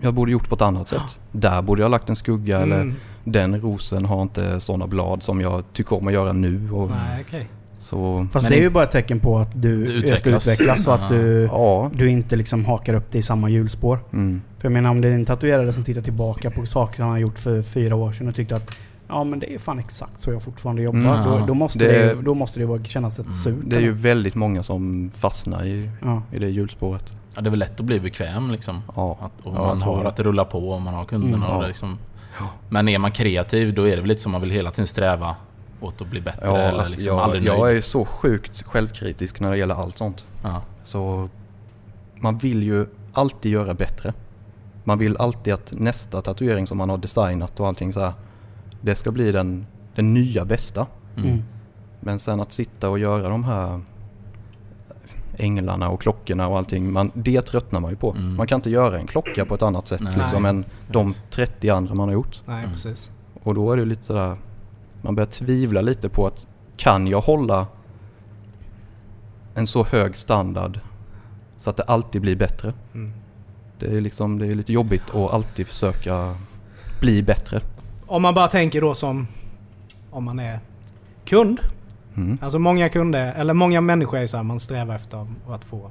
S1: jag borde gjort på ett annat sätt. Där borde jag ha lagt en skugga eller
S4: Mm.
S1: den rosen har inte sådana blad som jag tycker om att göra nu. Och,
S4: Nej, okej.
S1: så
S3: Fast
S2: Men
S3: det är
S2: det-
S3: ju bara ett tecken på att du,
S2: Du
S3: utvecklas.
S2: utvecklas.
S3: utvecklas och att du,
S1: ja.
S3: du inte liksom hakar upp dig i samma hjulspår.
S1: Mm.
S3: För jag menar om det är en tatuerare som tittar tillbaka på saker han har gjort för fyra år sedan och tyckte att Ja men det är ju fan exakt så jag fortfarande jobbar.
S2: Mm, ja.
S3: då, då måste
S1: Det-
S3: det, ju- då måste det vara, kännas ett sug.
S1: Det är ju väldigt många som fastnar i,
S3: Ja.
S1: i det hjulspåret.
S2: Ja, det är väl lätt att bli bekväm liksom.
S1: Ja.
S2: Att, och
S1: Ja, jag
S2: man
S1: tror
S2: har
S1: det.
S2: att rulla på och man har kunderna.
S1: Mm, ja.
S2: och det liksom. Men är man kreativ då är det väl lite som man vill hela tiden sträva åt att bli bättre
S1: Ja,
S2: eller
S1: alltså,
S2: liksom
S1: jag,
S2: aldrig
S1: jag är
S2: nöjd.
S1: ju så sjukt självkritisk när det gäller allt sånt.
S2: Ja.
S1: Så man vill ju alltid göra bättre. Man vill alltid att nästa tatuering som man har designat och allting så här, det ska bli den, den nya bästa.
S2: Mm.
S3: Mm.
S1: Men sen att sitta och göra de här änglarna och klockorna och allting, man, det tröttnar man ju på.
S2: Mm.
S1: Man kan inte göra en klocka på ett annat sätt
S2: Nej.
S1: liksom, än de 30 andra man har gjort.
S4: Nej,
S2: Mm.
S4: precis.
S1: Och då är det ju lite sådär, man börjar tvivla lite på att kan jag hålla en så hög standard så att det alltid blir bättre?
S4: Mm.
S1: Det är liksom, det är lite jobbigt att alltid försöka bli bättre.
S4: Om man bara tänker då som om man är kund.
S1: Mm.
S4: Alltså många kunder, eller många människor är så här, man strävar efter att få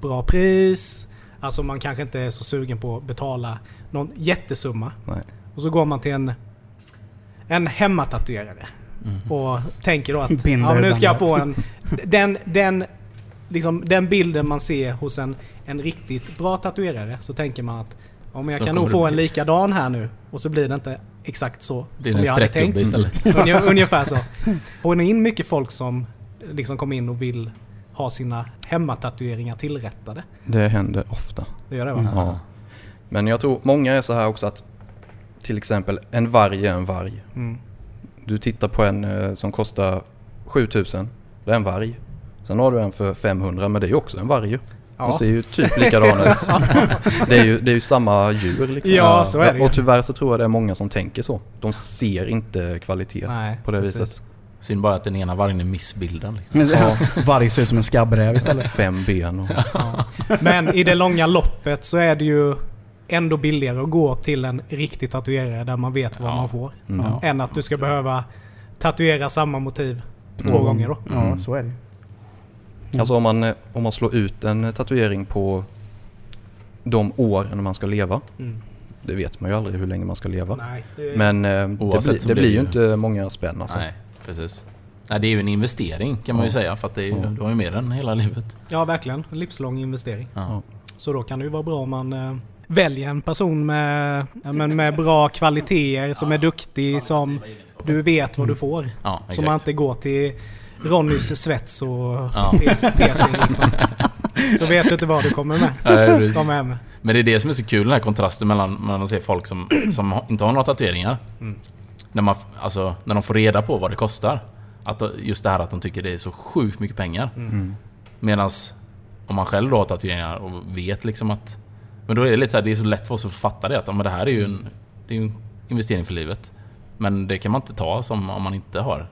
S4: bra pris, Alltså man kanske inte är så sugen på att betala någon jättesumma.
S1: Nej.
S4: Och så går man till en, en hemmatatuerare. Och tänker då att
S3: Binder
S4: ja, men nu ska jag
S3: utan
S4: få en... Den, den, liksom, den bilden man ser hos en, en riktigt bra tatuerare så tänker man att ja, men jag
S2: Så
S4: kan
S2: kommer
S4: nog
S2: det
S4: få en
S2: bli."
S4: likadan här nu. Och så blir det inte exakt så
S2: Det är
S4: som
S2: en
S4: jag hade tänkt.
S2: streckgubbe istället.
S4: Unge- Ungefär så. Får ni in mycket folk som liksom kommer in och vill ha sina hemmatatueringar tillrättade?
S1: Det händer ofta.
S4: Det gör det va?
S2: Mm.
S1: Ja. Men jag tror många är så här också att till exempel en varg är en varg.
S4: Mm.
S1: Du tittar på en eh, som kostar 7000. Det är en varg. Sen har du en för 500 men det är ju också en varg. ju. De
S4: Ja.
S1: ser ju typ likadana ut. Det är, ju, det är ju samma djur liksom.
S4: Ja, så är det ju.
S1: Och tyvärr så tror jag det är många som tänker så. De ser inte kvalitet
S4: Nej,
S1: på det
S4: precis.
S1: viset.
S2: Synd bara att den ena vargen är missbildad. Liksom.
S3: Men Varg ser ut som en skabbräv istället.
S1: Fem ben och...
S4: Ja. Men i det långa loppet så är det ju ändå billigare att gå till en riktig tatuerare där man vet vad
S2: Ja.
S4: man får.
S1: Mm.
S3: Ja.
S4: Än att du ska behöva tatuera samma motiv två
S2: Mm.
S4: gånger då.
S3: Ja, så är det
S1: Alltså om man, eh, om man slår ut en eh, tatuering på de åren man ska leva.
S4: Mm.
S1: Det vet man ju aldrig hur länge man ska leva.
S4: Nej, det är-
S1: Men eh, det,
S2: Oavsett
S1: bli,
S2: så
S1: det
S2: blir
S1: blir
S2: det
S1: ju
S2: ju-
S1: inte många spänn alltså.
S2: Nej, precis. Nej, det är ju en investering kan man ju säga. För att det är, ju- du har ju med den hela livet.
S4: Ja, verkligen. En livslång investering.
S2: Ja.
S4: Så då kan det ju vara bra om man eh, väljer en person med, ja, men med bra kvaliteter, som är duktig, som du vet vad du får.
S2: Ja, Mm. exakt.
S4: Så man inte går till Ronnys svets och
S2: Ja.
S4: PC, PC liksom. Så vet du inte vad du kommer med.
S2: Nej, precis.
S4: De är med.
S2: Men det är det som är så kul, den här kontrasten mellan mellan att se folk som, som ha- inte har några tatueringar.
S4: Mm.
S2: När, man, f- alltså, när de får reda på vad det kostar. Att, de- just det här att de tycker det är så sjukt mycket
S4: Mm.
S2: pengar. Medan om man själv då har tatueringar och vet liksom att... Men då är det lite så här, det är så lätt för oss att fatta det att ja, men det här är ju en, det är ju en investering för livet. Men det kan man inte ta som om man inte har.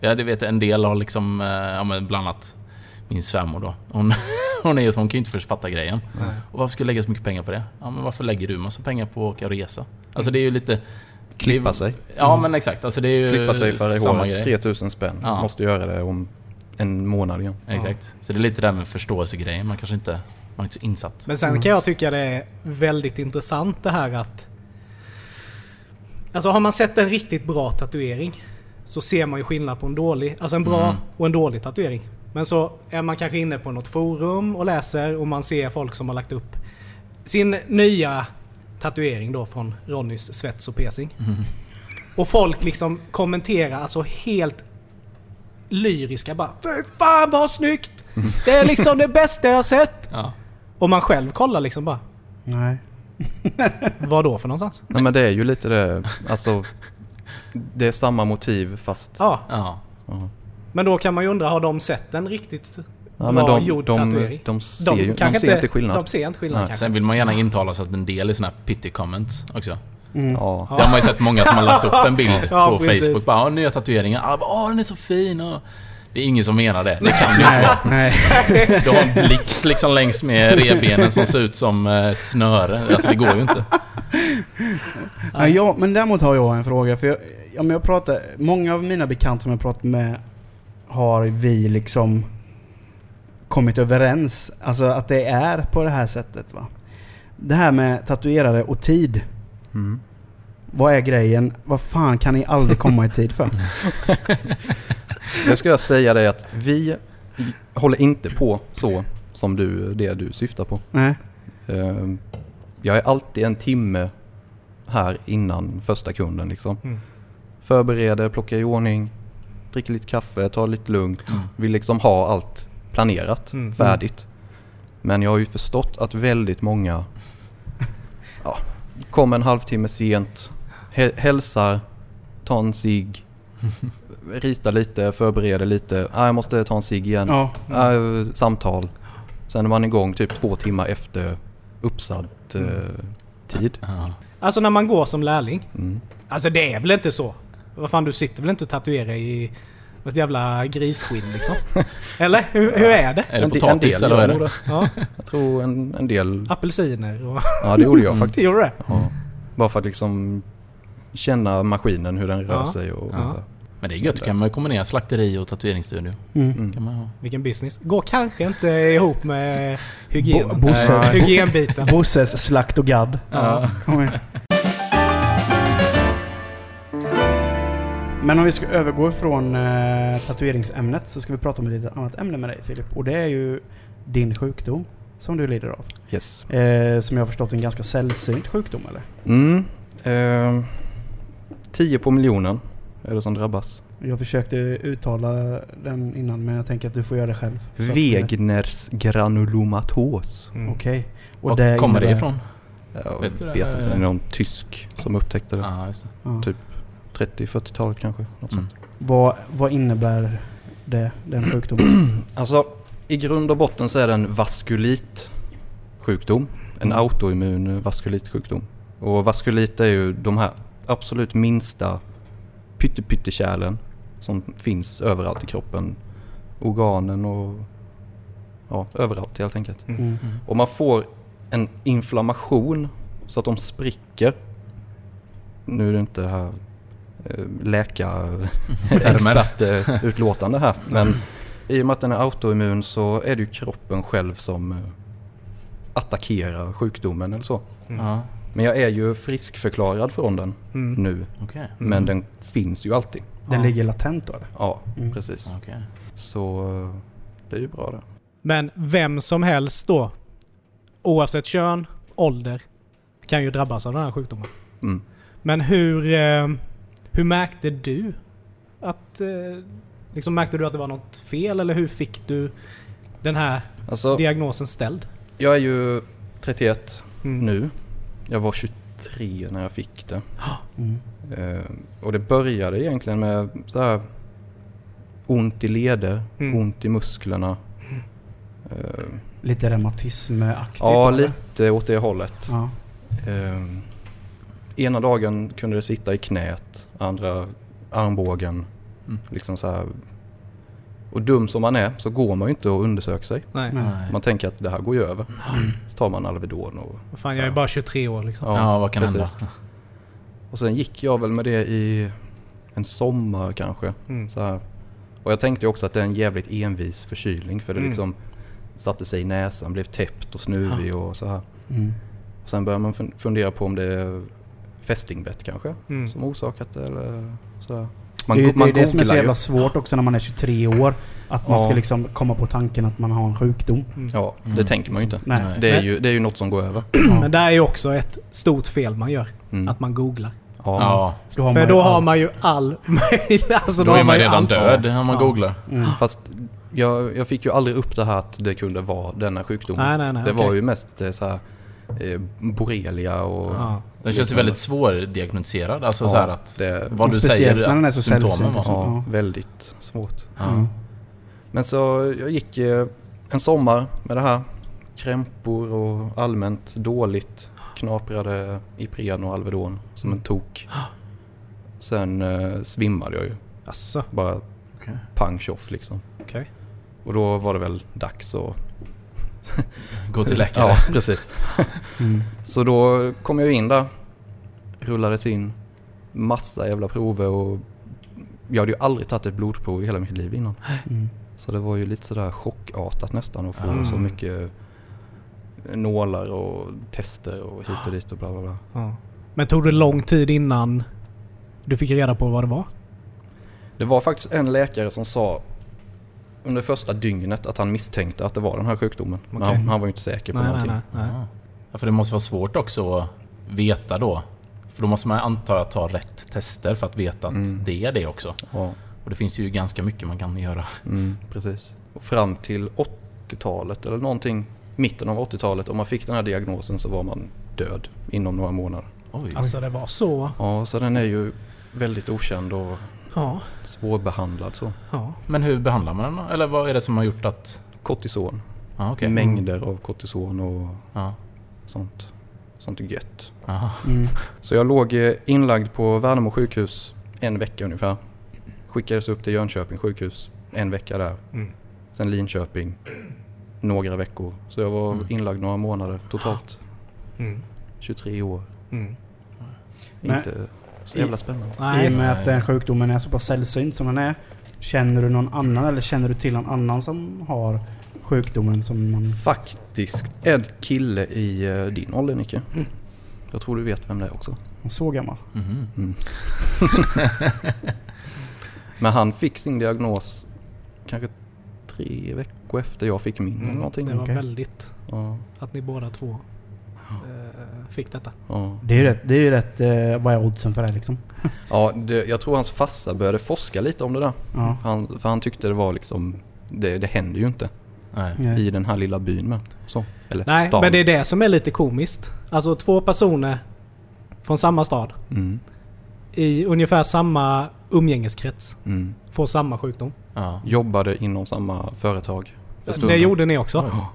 S2: Ja, det vet jag, en del har liksom, eh, ja, men bland annat min svärmor då. Hon, hon, är, ju så- hon kan ju inte först fatta grejen. Och varför ska du lägga så mycket pengar på det? Ja, men varför lägger du massa pengar på att åka och resa? Alltså det är ju lite...
S1: Klippa sig. Mm.
S2: Ja, men exakt. Alltså det är ju
S1: Klippa sig för i
S2: samma
S1: håret.
S2: grej.
S1: 3000 spänn.
S2: Ja.
S1: Måste göra det om en månad igen.
S2: Exakt. Så det är lite det där med förståelsegrejen. Man kanske inte... Man är inte så insatt.
S4: Men sen kan jag tycka det är väldigt intressant det här att... Alltså har man sett en riktigt bra tatuering så ser man ju skillnad på en dålig, alltså en bra och en dålig tatuering. Men så är man kanske inne på något forum och läser och man ser folk som har lagt upp sin nya tatuering då från Ronnys svets och piercing. Och folk liksom kommenterar alltså helt lyriska bara Fy fan vad snyggt! Det är liksom det bästa jag har sett!
S2: Ja.
S4: Och man själv kollar liksom bara,
S3: Nej.
S4: vad då för någonstans?
S1: Nej men det är ju lite det, alltså. Det är samma motiv fast...
S4: Ja,
S2: Ja.
S4: men då kan man ju undra, har de sett en riktigt
S1: Ja,
S4: bra
S1: men de,
S4: gjord
S1: de, de,
S4: tatuering?
S1: ser, ju, de
S4: kanske
S1: ser inte skillnad.
S4: De ser inte skillnad
S1: Nej.
S4: kanske.
S2: Sen vill man gärna intala sig att en del är såna här pity comments också.
S1: Ja.
S2: Det har man ju sett många som har lagt upp en bild
S4: Ja,
S2: på
S4: precis.
S2: Facebook. Bara, "Ja, nya tatueringar. Ah, bara, Åh, den är så fin. Och... Det är ingen som menar det. Det kan ju inte vara.
S3: Nej.
S2: Du har en blix liksom längs med revbenen som ser ut som eh, ett snöre. Alltså det går ju inte.
S3: Ja, jag, men däremot har jag en fråga. För jag, ja, men jag pratar, många av mina bekanta som jag pratat med har vi liksom kommit överens. Alltså att det är på det här sättet va. Det här med tatuerare och tid.
S1: Mm.
S3: Vad är grejen? Vad fan kan ni aldrig komma i tid för?
S1: Det ska jag säga dig att vi håller inte på så som du, det du syftar på.
S3: Nej.
S1: Ehm, Jag är alltid en timme här innan första kunden liksom.
S4: Mm.
S1: Förbereder, plockar i ordning, dricker lite kaffe, tar det lite lugnt. Vill liksom ha allt planerat,
S4: Mm.
S1: färdigt. Men jag har ju förstått att väldigt många ja, kommer en halvtimme sent, hä- hälsar, tar en cigg, ritar lite, förbereder lite. Ah, jag måste ta en cigg igen.
S3: Ja.
S1: Ja, samtal. Sen är man igång typ två timmar efter uppsatt eh, tid.
S2: Ja.
S4: Alltså när man går som lärling.
S1: Mm.
S4: Alltså det är väl inte så? Vad fan, du sitter väl inte och tatuerar i något jävla grisskinn liksom? Eller? Hur, hur är det?
S2: Är det
S1: En de-
S2: potatis
S1: en del
S2: eller vad är
S1: gör nog
S2: det?
S4: Ja,
S1: Jag tror en, en del...
S4: apelsiner och...
S1: Ja, det gjorde jag faktiskt.
S4: Gjorde det?
S1: Ja. Bara för att liksom känna maskinen, hur den rör
S4: Ja.
S1: sig och...
S2: Ja. Men det är gött, då kan man ju kombinera slakteri och tatueringsstudio.
S3: Mm.
S1: Mm.
S2: Kan man ha.
S4: Vilken business. Går kanske inte ihop med hygienen.
S3: Bo- Bosse.
S4: Nej. Hygienbiten.
S3: Bosses slakt och gadd.
S2: Ja.
S3: Kom igen. Men om vi ska övergå från eh, tatueringsämnet så ska vi prata om ett lite annat ämne med dig Filip. Och det är ju din sjukdom som du lider av.
S1: Yes.
S3: Eh, som jag har förstått en ganska sällsynt sjukdom eller?
S1: Mm. Eh, 10 på miljonen är det som drabbas.
S3: Jag försökte uttala den innan men jag tänker att du får göra det själv. Så att, eh,
S1: Wegners granulomatos.
S4: Mm.
S3: Okej. Och
S2: Var kommer det
S3: innebär-
S2: ifrån?
S1: Jag
S2: Vet
S1: vet,
S2: du det?
S1: inte, det är någon tysk som upptäckte det.
S2: Ja, just det.
S3: Ja.
S1: Typ. 30-40-talet kanske. Något
S2: Mm.
S1: sånt.
S3: Vad, vad innebär det, den sjukdomen?
S1: Alltså, i grund och botten så är det en vaskulit sjukdom. En autoimmun vaskulit sjukdom. Och vaskulit är ju de här absolut minsta pytte pyttekärlen som finns överallt i kroppen. Organen och ja, överallt helt enkelt.
S3: Mm.
S1: Och man får en inflammation så att de spricker. Nu är det inte det här eh, läkarexpertutlåtande här. Men i och med att den är autoimmun så är det ju kroppen själv som eh, attackerar sjukdomen eller så.
S2: Ja,
S1: Men jag är ju friskförklarad från den
S4: Mm.
S1: nu.
S2: okej.
S1: Men den finns ju alltid.
S3: Den
S4: Ja.
S3: ligger latent då eller?
S1: Ja,
S3: Mm.
S1: precis.
S2: Okej.
S1: Så eh, det är ju bra det.
S4: Men vem som helst då, oavsett kön, ålder, kan ju drabbas av den här sjukdomen.
S1: Mm.
S4: Men hur, eh, hur märkte du att... Eh, liksom märkte du att det var något fel eller hur fick du den här
S1: Alltså,
S4: diagnosen ställd?
S1: jag är ju 31
S4: Mm.
S1: nu. Jag var 23 när jag fick det.
S3: Mm.
S1: Eh, och det började egentligen med så här ont i leder,
S4: Mm.
S1: ont i musklerna. Eh,
S3: Lite reumatismaktigt?
S1: ja,
S3: eller?
S1: lite åt det hållet.
S3: Ja.
S1: Eh, ena dagen kunde det sitta i knät, andra armbågen.
S2: Mm.
S1: Liksom så här. Och dum som man är så går man ju inte och undersöker sig.
S4: Nej.
S3: Nej.
S2: Nej.
S1: Man tänker att det här går ju över. Så tar man Alvedon och
S4: Vad Fan, jag är bara 23 år liksom.
S2: Ja, vad kan
S1: precis.
S2: hända?
S1: Och sen gick jag väl med det i en sommar kanske.
S4: Mm.
S1: Så här. Och jag tänkte ju också att det är en jävligt envis förkylning för det
S4: Mm.
S1: liksom satte sig i näsan, blev täppt och snuvig och så här.
S3: Mm.
S1: Och sen började man fun- fundera på om det är fästingbett kanske
S4: Mm.
S1: som orsakat det eller så här. Man,
S3: Man, det är ju
S1: go- man
S3: det, är det som är så
S1: googlar
S3: jävla
S1: ju.
S3: svårt också när man är 23 år. Att man
S1: Ja.
S3: ska liksom komma på tanken att man har en sjukdom.
S1: Ja, det
S2: Mm.
S1: tänker man ju inte.
S3: Nej.
S2: Nej.
S1: Det är
S4: Men-
S1: ju, det är ju något som går över.
S3: Ja.
S4: Mm. Men det är ju också ett stort fel man gör.
S1: Mm.
S4: Att man googlar.
S1: Ja.
S2: Ja,
S3: Då har
S4: För
S3: man
S4: då
S3: ju
S4: har
S3: allt.
S4: man ju all möjlighet. Alltså,
S2: då är man
S4: ju
S2: redan
S4: allt.
S2: död när man
S4: Ja.
S2: googlar.
S3: Mm.
S1: Fast jag, jag fick ju aldrig upp det här att det kunde vara denna sjukdom.
S4: Nej, nej, nej.
S1: det var
S4: okej.
S1: ju mest eh, så här, eh, borrelia och
S4: Ja.
S2: Den känns ju väldigt svårdiagnostiserad. Alltså
S1: Ja,
S2: så här att...
S1: det,
S2: Vad du
S3: Speciellt
S2: säger
S3: när den är
S2: att
S3: så
S2: symptomen
S3: sällsynt
S2: var.
S3: också.
S1: ja,
S3: Ja.
S1: väldigt svårt.
S2: Ja.
S3: Mm.
S1: Men så jag gick eh, en sommar med det här. Krämpor och allmänt dåligt. Knaprade Ipren och Alvedon som en tok. Sen eh, svimmade jag ju.
S4: Alltså,
S1: Bara
S2: Okej.
S1: pang tjoff liksom.
S4: okej.
S1: Och då var det väl dags att...
S2: Gå till läkare.
S1: Ja, precis.
S3: Mm.
S1: Så då kom jag in där. Rullades in. Massa jävla prover och... Jag hade ju aldrig tagit ett blodprov i hela mitt liv innan.
S3: Mm.
S1: Så det var ju lite sådär chockartat nästan att få
S2: Mm.
S1: så mycket eh, nålar och tester och hit och dit och bla bla bla.
S4: Ja. Men tog det lång tid innan du fick reda på vad det var?
S1: Det var faktiskt en läkare som sa under första dygnet att han misstänkte att det var den här sjukdomen. Men
S4: Okej.
S1: han, han var ju inte säker på
S4: Nej, nej,
S1: någonting.
S4: nej, nej.
S2: Ja. Ja, för det måste vara svårt också att veta då. För då måste man anta att ta rätt tester för att veta att
S1: Mm.
S2: det är det också. Och det finns ju ganska mycket man kan göra.
S1: Ja, mm, precis. Och fram till 80-talet eller någonting, mitten av 80-talet, om man fick den här diagnosen så var man död inom några månader.
S2: Oj.
S4: Alltså det var så.
S1: Ja, så den är ju väldigt okänd och
S4: Ja.
S1: svårbehandlad så.
S4: ja.
S2: Men hur behandlar man den då? Eller vad är det som har gjort att...
S1: Kortison,
S2: Ja, okej. Mm.
S1: mängder av kortison och
S2: Ja.
S1: sånt. Sånt är gött.
S2: Aha.
S3: Mm.
S1: Så jag låg eh, inlagd på Värnamo sjukhus en vecka ungefär. Skickades upp till Jönköping sjukhus en vecka där.
S4: Mm.
S1: Sen Linköping några veckor. Så jag var
S2: Mm.
S1: inlagd några månader totalt. 23 år.
S4: Mm.
S3: Nej.
S1: Inte Så jävla spännande.
S3: I och
S4: Nej.
S3: med att den sjukdomen är så pass sällsynt som den är. Känner du någon annan eller känner du till någon annan som har sjukdomen som man...
S1: Faktiskt en kille i eh, din ålder Nicke. Jag tror du vet vem det är också.
S3: Så gammal?
S2: Mhm.
S1: Men han fick sin diagnos kanske tre veckor efter jag fick min.
S4: Mm,
S1: eller Mm. någonting.
S4: Det var
S3: Okej.
S4: väldigt
S1: Ja,
S4: att ni båda två eh, fick detta.
S1: ja.
S3: Det är ju rätt, det är ju rätt eh, vad är oddsen för det liksom?
S1: ja det, jag tror hans farsa började forska lite om det där.
S3: Ja.
S1: Han, för han tyckte det var liksom, det, det händer ju inte
S2: Nej.
S3: Nej.
S1: i den här lilla byn med. Så, eller
S4: Nej,
S1: stan.
S4: men det är det som är lite komiskt. Alltså två personer från samma stad
S1: Mm,
S4: i ungefär samma umgängeskrets
S1: mm.
S4: får samma sjukdom.
S2: Ja.
S1: Jobbade inom samma företag. för
S4: Det
S1: stunden.
S4: gjorde ni också.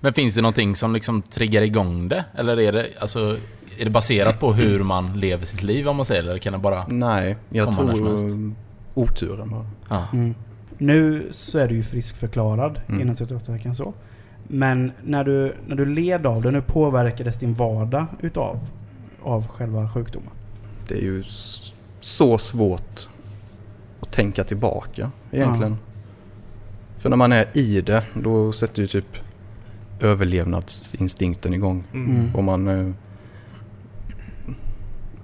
S2: Men finns det någonting som liksom triggar igång det? Eller är det, alltså, är det baserat på hur man lever sitt liv om man säger? Eller kan det bara...
S1: Nej, jag
S2: Kom annars
S1: tror
S2: mest.
S1: eh, oturen bara.
S2: Ja.
S3: Mm. Nu så är du ju friskförklarad
S1: Mm.
S3: innan 38 veckan så. Men när du, när du led av den, hur påverkades din vardag utav av själva sjukdomen?
S1: Det är ju s- så svårt att tänka tillbaka egentligen. För när man är i det, då sätter ju typ överlevnadsinstinkten igång.
S4: Mm.
S1: Och man... eh,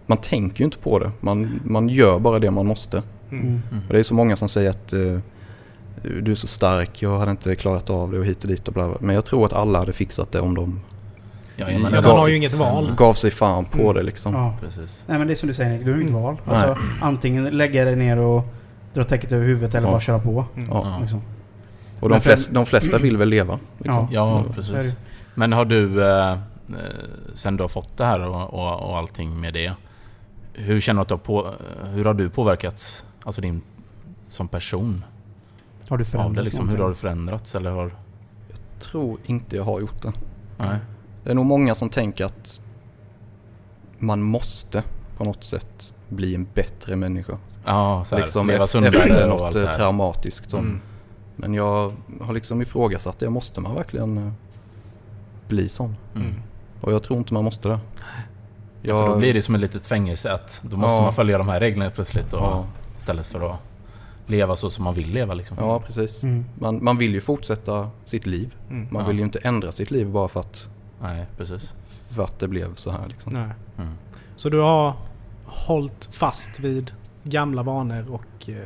S1: Man tänker ju inte på det. Man, man gör bara det man måste.
S3: Mm.
S1: Och det är så många som säger att eh, du är så stark, jag hade inte klarat av det och hit och dit och bla bla. Men jag tror att alla hade fixat det om de
S2: Ja, jag menar,
S1: Ja,
S2: det
S1: man
S2: var
S1: har
S4: ju
S2: sitsen.
S4: inget val.
S1: gav sig fan på det liksom.
S3: Mm. Ja.
S2: Precis.
S3: Nej men det är som du säger Nick, du har ju inget val. Alltså, antingen lägga dig ner och dra täcket över huvudet eller
S1: Ja.
S3: bara köra på.
S1: Ja.
S2: Ja.
S3: Liksom.
S1: Och de,
S3: Men för-
S1: flest, de flesta vill väl leva. Liksom.
S2: Ja,
S3: Så är det ju.
S2: precis. Men har du, eh, eh, sen du har fått det här och, och, och allting med det. Hur känner du att du har, på, hur har du påverkats? Alltså din, som person
S3: Har du
S2: av det
S3: förändrats
S2: liksom. Hur har du förändrats eller har...
S1: tror inte jag har gjort det.
S2: Nej.
S1: Det är nog många som tänker att man måste på något sätt bli en bättre människa.
S2: Ja, så här,
S1: liksom
S2: leva
S1: efter, efter
S2: sundare och allt
S1: något
S2: det
S1: eh,
S2: här.
S1: traumatiskt. Så.
S2: Mm.
S1: Men jag har liksom ifrågasatt det. Måste man verkligen eh, bli sån?
S2: Mm.
S1: Och jag tror inte man måste det.
S2: Ja, för då blir det som ett litet fängelse att då måste
S1: Ja.
S2: man följa de här reglerna plötsligt. Och,
S1: Ja,
S2: Istället för att leva så som man vill leva liksom.
S1: ja precis.
S3: Mm.
S1: Man, man vill ju fortsätta sitt liv.
S4: Mm.
S1: Man
S2: Ja.
S1: vill ju inte ändra sitt liv bara för att,
S2: Nej, precis.
S1: för att det blev så här. Liksom.
S4: Nej.
S2: Mm.
S4: Så du har hållit fast vid gamla vanor och eh,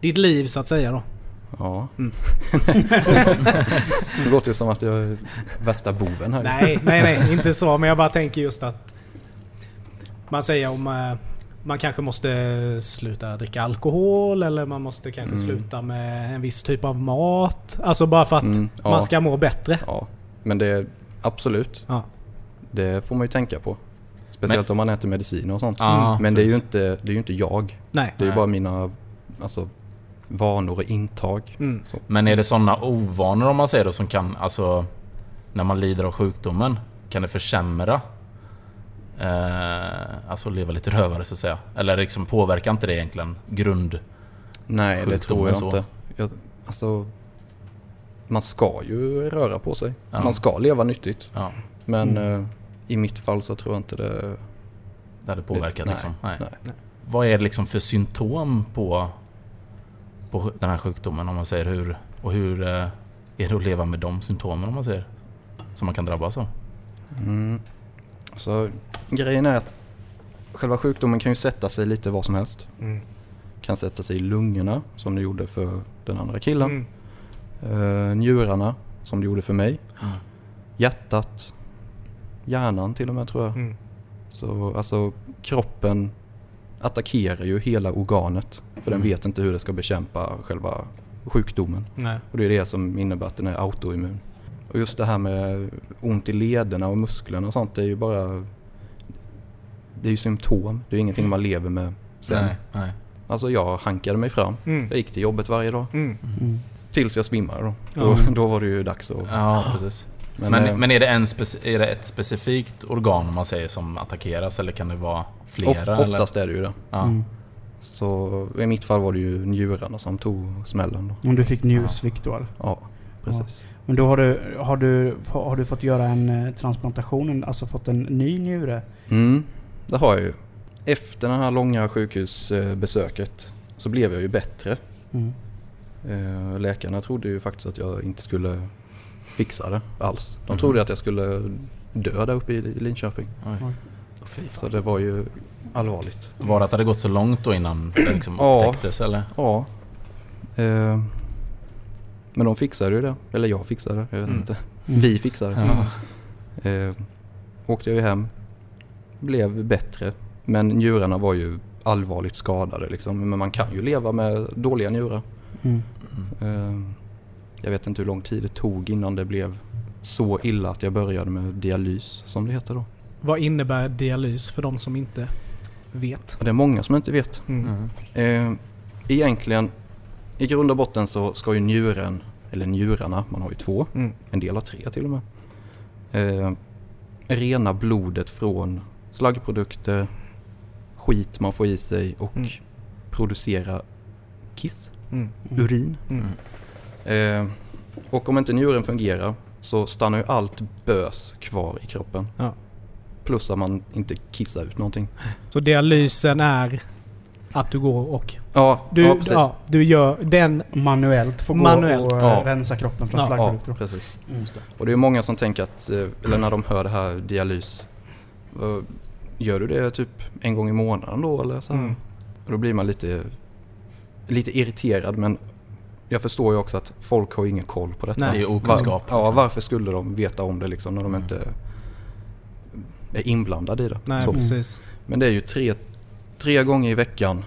S4: ditt liv så att säga då?
S1: Ja.
S4: Mm.
S1: det låter ju som att jag är värsta boven här.
S4: Nej, nej, nej, inte så. Men jag bara tänker just att man säger om eh, man kanske måste sluta dricka alkohol eller man måste kanske
S1: Mm.
S4: sluta med en viss typ av mat. Alltså bara för att
S1: Mm, ja.
S4: man ska må bättre.
S1: Ja, men det är absolut.
S4: Ja.
S1: Det får man ju tänka på. Speciellt om man äter mediciner och sånt.
S2: Ja,
S1: men det är, ju
S2: precis.
S1: inte, det är ju inte jag.
S4: Mm. Nej.
S1: Det är ju
S2: Nej.
S1: bara mina alltså, vanor och intag.
S4: Mm.
S2: Men är det sådana ovanor om man säger då som kan, alltså när man lider av sjukdomen, kan det försämra? Eh, alltså leva lite rövare så att säga. Eller liksom påverkar inte det egentligen grund...
S1: Nej, det
S2: Sjukdom
S1: tror
S2: och
S1: jag
S2: så.
S1: inte. Jag, alltså, man ska ju röra på sig.
S2: Ja.
S1: Man ska leva nyttigt.
S2: Ja,
S1: Men
S4: Mm.
S1: eh, i mitt fall så tror jag inte det...
S2: det hade påverkat
S1: Nej,
S2: liksom.
S1: Nej.
S2: Vad är det liksom för symptom på, på sj- den här sjukdomen om man säger hur... Och hur eh, är det att leva med de symptomen om man säger? Som man kan drabbas av?
S1: Mm. Så grejen är att själva sjukdomen kan ju sätta sig lite var som helst.
S4: Mm.
S1: Kan sätta sig i lungorna som det gjorde för den andra killen.
S4: Mm. Mm.
S1: Eh, njurarna som det gjorde för mig. Hjärtat. Hjärnan till och med tror jag.
S4: Mm.
S1: Så alltså kroppen attackerar ju hela organet. För den
S2: Mm.
S1: vet inte hur den ska bekämpa själva sjukdomen.
S4: Nej.
S1: Och det är det som innebär att den är autoimmun. Och just det här med ont i lederna och musklerna och sånt, det är ju bara... Det är ju symptom. Det är ingenting man lever med sen.
S2: Nej, nej.
S1: Alltså jag hankade mig fram.
S4: Mm.
S1: Jag gick till jobbet varje dag.
S4: Mm.
S3: Mm.
S1: Tills jag svimmade då.
S4: Ja.
S1: Då, då var det ju dags att...
S2: Ja, precis. Men,
S1: Men, eh,
S2: men, är, det en spec- är det ett specifikt organ om man säger som attackeras eller kan det vara flera?
S1: of,
S2: eller?
S1: oftast är det ju det.
S2: Ja.
S3: Mm.
S1: Så i mitt fall var det ju njurarna som tog smällen då.
S3: Om du fick njursvikt då eller?
S1: Ja, precis.
S3: Men då har du, har du, har du fått göra en eh, transplantation, en- alltså fått en ny njure?
S1: Mm. Det har jag ju. Efter det här långa sjukhusbesöket så blev jag ju bättre.
S3: Mm.
S1: Eh, Läkarna trodde ju faktiskt att jag inte skulle fixa det alls. De
S2: Mhm.
S1: trodde att jag skulle dö där uppe i Linköping.
S2: Oj.
S1: Så det var ju allvarligt.
S2: Var det att det hade gått så långt då innan det liksom
S1: Ja.
S2: upptäcktes eller?
S1: Ja. Eh, men de fixade ju det. Eller jag fixade det. Jag vet
S2: Mm.
S1: inte.
S3: Mm.
S1: Vi fixade det.
S2: Ja.
S1: Eh, åkte jag ju hem. Blev bättre. Men njurarna var ju allvarligt skadade liksom. Men man kan ju leva med dåliga njurar.
S3: Mm.
S1: Eh, jag vet inte hur lång tid det tog innan det blev så illa att jag började med dialys som det heter då.
S4: Vad innebär dialys för de som inte vet?
S1: Och det är många som inte vet.
S4: Mm.
S2: Mm.
S1: Eh, egentligen, i grund och botten så ska ju njuren, eller njurarna, man har ju två,
S4: Mm.
S1: en del har tre till och med, eh, rena blodet från slaggprodukter, skit man får i sig och
S4: Mm.
S1: producera kiss,
S4: Mm.
S1: urin.
S4: Mm.
S1: Eh, och om inte njuren fungerar så stannar ju allt bös kvar i kroppen.
S4: Ja.
S1: Plus att man inte kissar ut någonting.
S4: Så dialysen är att du går och...
S1: Ja,
S4: Du,
S1: ja
S4: ja,
S1: precis.
S4: du gör den...
S3: Manuellt får
S4: Manuellt.
S3: gå och eh,
S1: Ja.
S3: rensa kroppen från
S4: Ja.
S1: ja
S3: slaggprodukter.
S1: precis.
S3: Mm, just det.
S1: Och det är många som tänker att, eh, eller när de hör det här dialys, vad- gör du det typ en gång i månaden då eller så? här?
S4: Mm.
S1: Och Då blir man lite, lite irriterad men jag förstår ju också att folk har ingen koll på detta.
S2: Det är ju okunskap.
S1: Ja,
S2: liksom.
S1: varför skulle de veta om det liksom när de
S2: Mm.
S1: inte är inblandade i det?
S4: Nej,
S1: Så.
S4: precis.
S1: Men det är ju tre, tre gånger i veckan,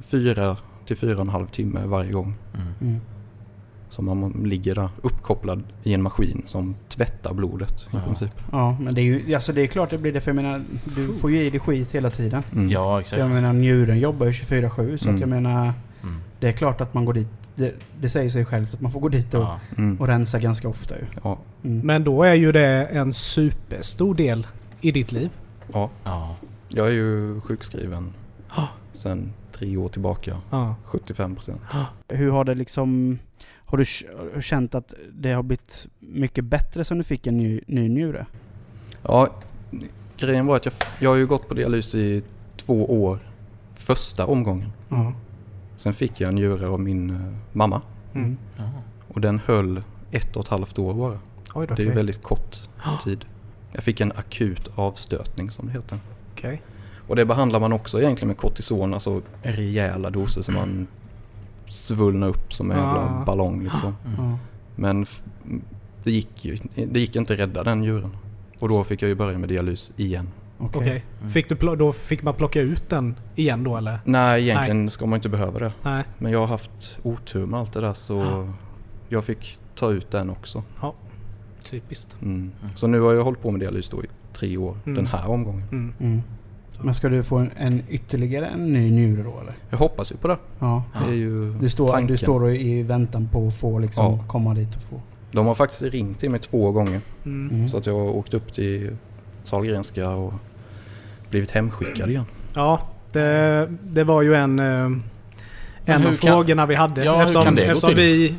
S1: fyra till fyra och en halv timme varje gång
S2: Mm.
S3: Mm.
S1: som man ligger där uppkopplad i en maskin som tvättar blodet i
S2: Ja.
S1: princip.
S3: Ja, men det är ju... Alltså det är klart det blir det för jag menar, du får ju i dig skit hela tiden.
S1: Mm.
S2: Ja, exakt.
S3: Jag menar njuren jobbar ju 24-7 så
S1: Mm.
S3: att jag menar...
S2: Mm.
S3: Det är klart att man går dit. Det, det säger sig självt att man får gå dit och,
S2: Ja.
S1: Mm.
S3: och rensa ganska ofta ju.
S1: Ja.
S3: Mm.
S4: Men då är ju det en superstor del i ditt liv.
S2: Ja.
S1: Jag är ju sjukskriven sen tre år tillbaka.
S4: Ja.
S1: 75 procent.
S3: Hur har det liksom... Har du k- känt att det har blivit mycket bättre sen du fick en ny, ny njure?
S1: Ja, grejen var att jag, jag har ju gått på dialys i två år. Första omgången.
S3: Ja.
S1: Sen fick jag en njure av min eh, mamma.
S3: Mm.
S2: Ja.
S1: Och den höll ett och ett halvt år bara.
S4: Oj då.
S1: Det är ju
S4: Okej.
S1: väldigt kort tid. Jag fick en akut avstötning som det heter.
S4: Okej.
S1: Och det behandlar man också egentligen med kortison, alltså rejäla doser som man svullnar upp som en jävla
S4: Ah.
S1: ballong liksom.
S2: Mm.
S3: Ja.
S1: Men f- m- det gick ju det gick inte att rädda den djuren. Och då fick jag ju börja med dialys igen.
S3: Okej.
S4: Okej.
S2: Mm.
S4: Fick du pl- då fick man plocka ut den igen då eller?
S1: Nej, egentligen ska man inte behöva det.
S4: Nej.
S1: Men jag har haft otur med allt det där så jag fick ta ut den också.
S4: Typiskt.
S1: Mm.
S2: Mm.
S1: Så nu har jag hållit på med dialys då i tre år,
S4: Mm.
S1: den här omgången.
S4: Mm.
S3: Mm. Men ska du få en, en ytterligare en ny njure då eller?
S1: Jag hoppas ju på det.
S3: Ja.
S1: Det är ju
S3: Du står,
S1: tanken.
S3: du står och i väntan på att få liksom
S1: Ja.
S3: komma dit och få...
S1: De har faktiskt ringt till mig två gånger.
S4: Mm.
S3: Mm.
S1: Så att jag har åkt upp till Sahlgrenska och blivit hemskickad igen.
S4: Ja, det, det var ju en, eh, en
S2: hur
S4: av
S2: kan-
S4: frågorna vi hade.
S2: Ja, hur
S4: eftersom
S2: kan det gå
S4: eftersom
S2: till?
S4: vi, eh,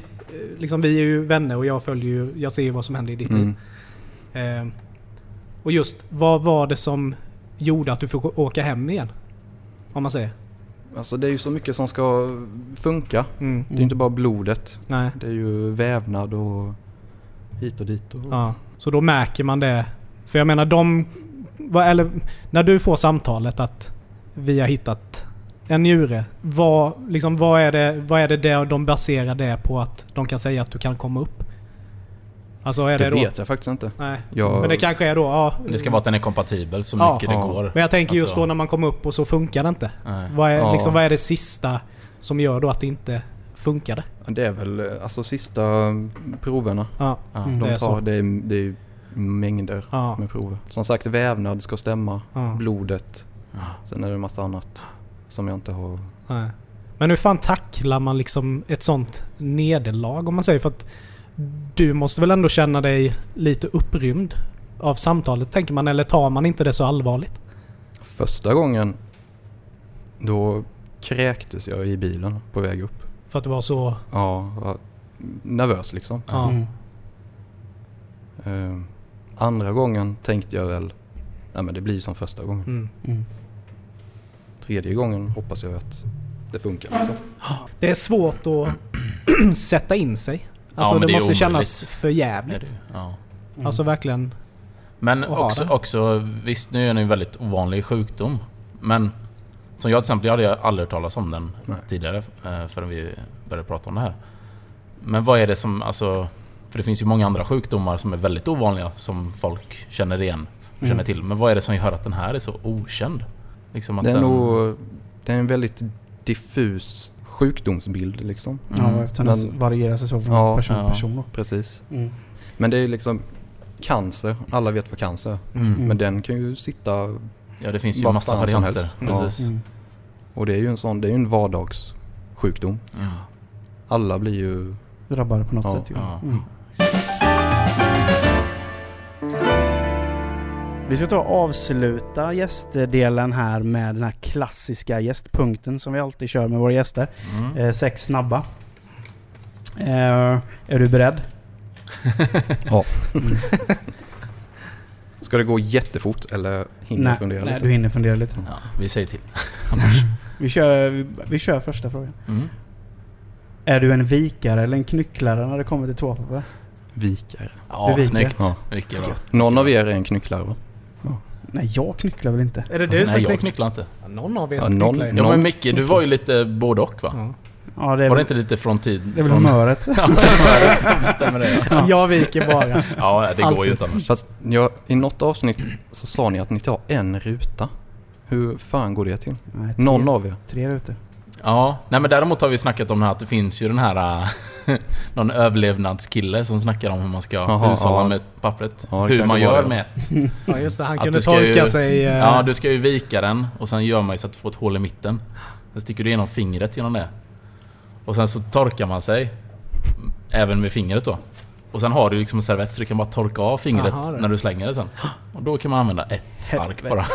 S4: liksom, vi är ju vänner och jag följer ju, jag ser ju vad som händer i
S2: Mm.
S4: ditt
S1: Mm.
S4: liv. Eh, och just, vad var det som gjorde att du fick å- åka hem igen? Om man säger.
S1: Alltså det är ju så mycket som ska funka.
S4: Mm.
S1: Det är inte bara blodet.
S4: Nej.
S1: Det är ju vävnad och hit och dit. Och...
S4: Ja. Så då märker man det. För jag menar de... Vad, eller, när du får samtalet att vi har hittat en njure. Vad, liksom, vad är det, vad är det där de baserar det på att de kan säga att du kan komma upp? Alltså är
S1: det
S4: det, då...
S1: vet jag faktiskt inte.
S4: Nej.
S1: Jag...
S4: Men det kanske är då... Ja,
S2: Det ska vara att den är kompatibel så
S4: Ja. Mm.
S2: mycket
S1: Ja.
S2: det går.
S4: men jag tänker just
S2: Alltså-
S4: då när man kommer upp och så funkar det inte.
S2: Nej.
S4: Vad är,
S1: Ja.
S4: liksom, vad är det sista som gör då att det inte funkade?
S1: det är väl eh, alltså sista eh, proverna
S4: Ja.
S2: Ja.
S3: Mm.
S1: de
S4: Det är så.
S1: tar. Det är, det är mängder
S4: Ja.
S1: med prover. Som sagt vävnad ska stämma.
S4: ja.
S1: Blodet.
S2: Ja.
S1: Sen är det en massa annat som jag inte har.
S4: Nej. Men hur fan tacklar man liksom ett sånt nederlag om man säger? För att du måste väl ändå känna dig lite upprymd av samtalet tänker man, eller tar man inte det så allvarligt?
S1: Första gången då kräktes jag i bilen på väg upp.
S4: För att du var så...
S1: Ja, jag var nervös liksom.
S4: Ja.
S3: Mm.
S1: Eh, andra gången tänkte jag väl, Nej men det blir ju som första gången.
S4: Mm.
S3: Mm.
S1: Tredje gången hoppas jag att det funkar liksom.
S4: Det är svårt att sätta in sig. Alltså
S2: men
S4: det,
S2: det är
S4: måste kännas
S2: omöjligt.
S4: för
S2: Är
S4: jävligt.
S2: det ju. Ja.
S4: Alltså verkligen.
S2: Men
S4: Och ha
S2: också,
S4: den.
S2: också, visst nu är det en väldigt ovanlig sjukdom. Men som jag till exempel, jag hade ju aldrig hört talas om den
S1: Nej.
S2: tidigare eh, förrän vi började prata om det här. Men vad är det som, alltså... För det finns ju många andra sjukdomar som är väldigt ovanliga som folk känner igen, känner till. Men vad är det som gör att den här är så okänd? Liksom att
S1: Det är
S2: den,
S1: nog det är en väldigt diffus sjukdomsbild liksom.
S2: Mm.
S3: Ja, eftersom
S1: Men-
S3: den varierar sig så från
S1: Ja,
S3: person till
S2: ja.
S3: person. Då.
S1: Precis.
S3: Mm.
S1: Men det är liksom cancer. Alla vet vad cancer är.
S2: Mm.
S1: Men den kan ju sitta
S2: Ja, det finns ju
S1: Vad
S2: massa
S1: fan som
S2: varianter.
S1: helst.
S2: Precis.
S3: Mm.
S1: och det är ju en sån, det är ju en vardagssjukdom.
S2: Ja.
S1: Alla blir ju...
S3: Drabbar det på något
S1: Ja,
S3: sätt. ju.
S2: ja.
S3: Mm. Vi ska ta och avsluta gästdelen här med den här klassiska gästpunkten som vi alltid kör med våra gäster.
S2: Mm.
S3: Eh, sex snabba. Eh, är du beredd?
S1: Ska det gå jättefort eller hinner jag fundera
S3: nej
S1: lite?
S3: du hinner fundera lite.
S2: Ja, vi säger till.
S3: Vi kör, vi, vi kör första frågan.
S2: Mm.
S3: Är du en vikare eller en knycklare när det kommer till toapapper?
S1: Vikare.
S2: Ja,
S3: viker.
S2: snyggt.
S1: Ja.
S2: Mycket bra.
S1: Någon av er är en knycklare va?
S3: Nej, jag knycklar väl inte?
S4: Är det du som
S2: Nej, jag
S4: knycklar?
S2: knycklar inte.
S4: Någon av er
S1: Ja,
S4: som
S1: någon-
S4: knycklar.
S2: Ja,
S1: Någon-
S2: men Micke, du var ju lite både och va?
S4: Ja.
S3: Ja, det är,
S2: Var det
S3: väl,
S2: inte lite från tid?
S3: det är väl
S2: från...
S3: humöret.
S2: Ja, det stämmer det. Ja,
S4: Jag viker bara.
S2: ja det går
S4: Alltid.
S2: ju inte annars.
S1: Fast jag, i något avsnitt så sa ni att ni tar en ruta. Hur fan går det till?
S3: Nej, tre,
S1: Någon av er?
S3: tre rutor.
S2: Ja, nej men däremot har vi snackat om det här att det finns ju den här... äh, någon överlevnadskille som snackar om hur man ska
S1: Jaha,
S2: hushålla
S1: ja.
S2: med pappret.
S1: Ja, det
S2: hur
S1: kan
S2: man
S1: ju vara
S2: gör
S1: det.
S2: med...
S4: Ja just det, han
S2: Att
S4: kunde
S2: du ska ju-
S4: torka sig... eh,
S2: Ja, du ska ju vika den och sen gör man ju så att du får ett hål i mitten. Sen sticker du igenom fingret genom det. Och sen så torkar man sig. mm, Även med fingret då. Och sen har du liksom en servett så du kan bara torka av fingret
S4: Jaha, det.
S2: när du slänger det sen. Och då kan man använda ett ark bara.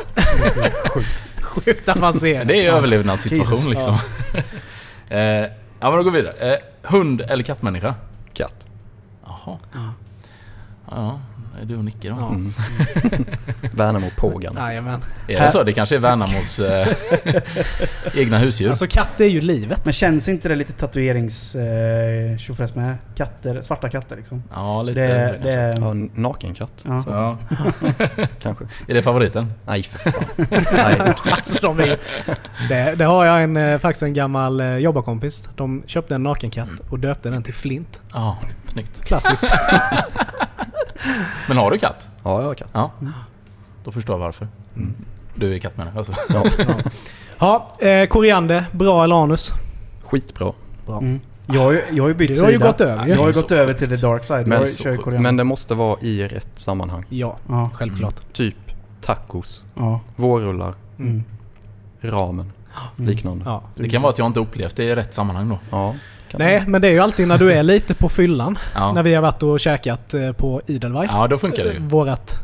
S4: Sjukt avancerat.
S2: Det är ju överlevnadssituation
S3: Jesus.
S2: liksom. Ja. eh, ja, men då går vi vidare. Eh, hund eller kattmänniska?
S1: Katt.
S2: Jaha. Ja, ja. Det är du och Nicke då.
S1: Värnamo Pågan.
S4: Jajamän.
S2: Är det så? Det kanske är Värnamos eh, egna husdjur?
S4: Alltså katt är ju livet.
S3: Men känns inte det lite tatuerings eh, tjofräs med? Katter, svarta katter liksom.
S2: ja, lite.
S3: Det,
S2: kanske.
S3: det
S1: Ja,
S3: är...
S1: en nakenkatt
S3: Ja.
S2: Ja.
S1: kanske.
S2: Är det favoriten?
S1: Nej för fan. Nej.
S4: Alltså, de är, det, det har jag en, eh, faktiskt en gammal eh, jobbarkompis. De köpte en nakenkatt och döpte den till Flint.
S2: Ja, snyggt.
S4: Klassiskt.
S2: Men har du katt?
S1: Ja, jag har katt.
S2: Ja. Då förstår jag varför. Du är kattmänniska alltså.
S4: Ja, eh, koriander, bra eller anus?
S1: Skitbra.
S3: Mm. Jag, har ju, jag har ju bytt
S4: Du har ju
S3: sida.
S4: gått över ju.
S3: Jag har ju
S2: Så
S3: gått över till the dark side.
S1: Men-
S3: jag kör ju korean.
S1: Men det måste vara i rätt sammanhang.
S4: Ja,
S3: ja,
S4: självklart.
S2: Mm.
S1: Typ tacos,
S3: ja.
S1: vårrullar,
S3: Mm.
S1: ramen,
S3: Mm.
S1: liknande. Ja.
S4: Ja.
S2: Det kan vara att jag inte upplevt det i rätt sammanhang då.
S1: kan
S4: Nej, men det är ju alltid när du är lite på fyllan. När
S2: Ja,
S4: vi har varit och käkat eh, på Idelweih.
S2: ja då funkar det ju. Mm.
S4: Vårat,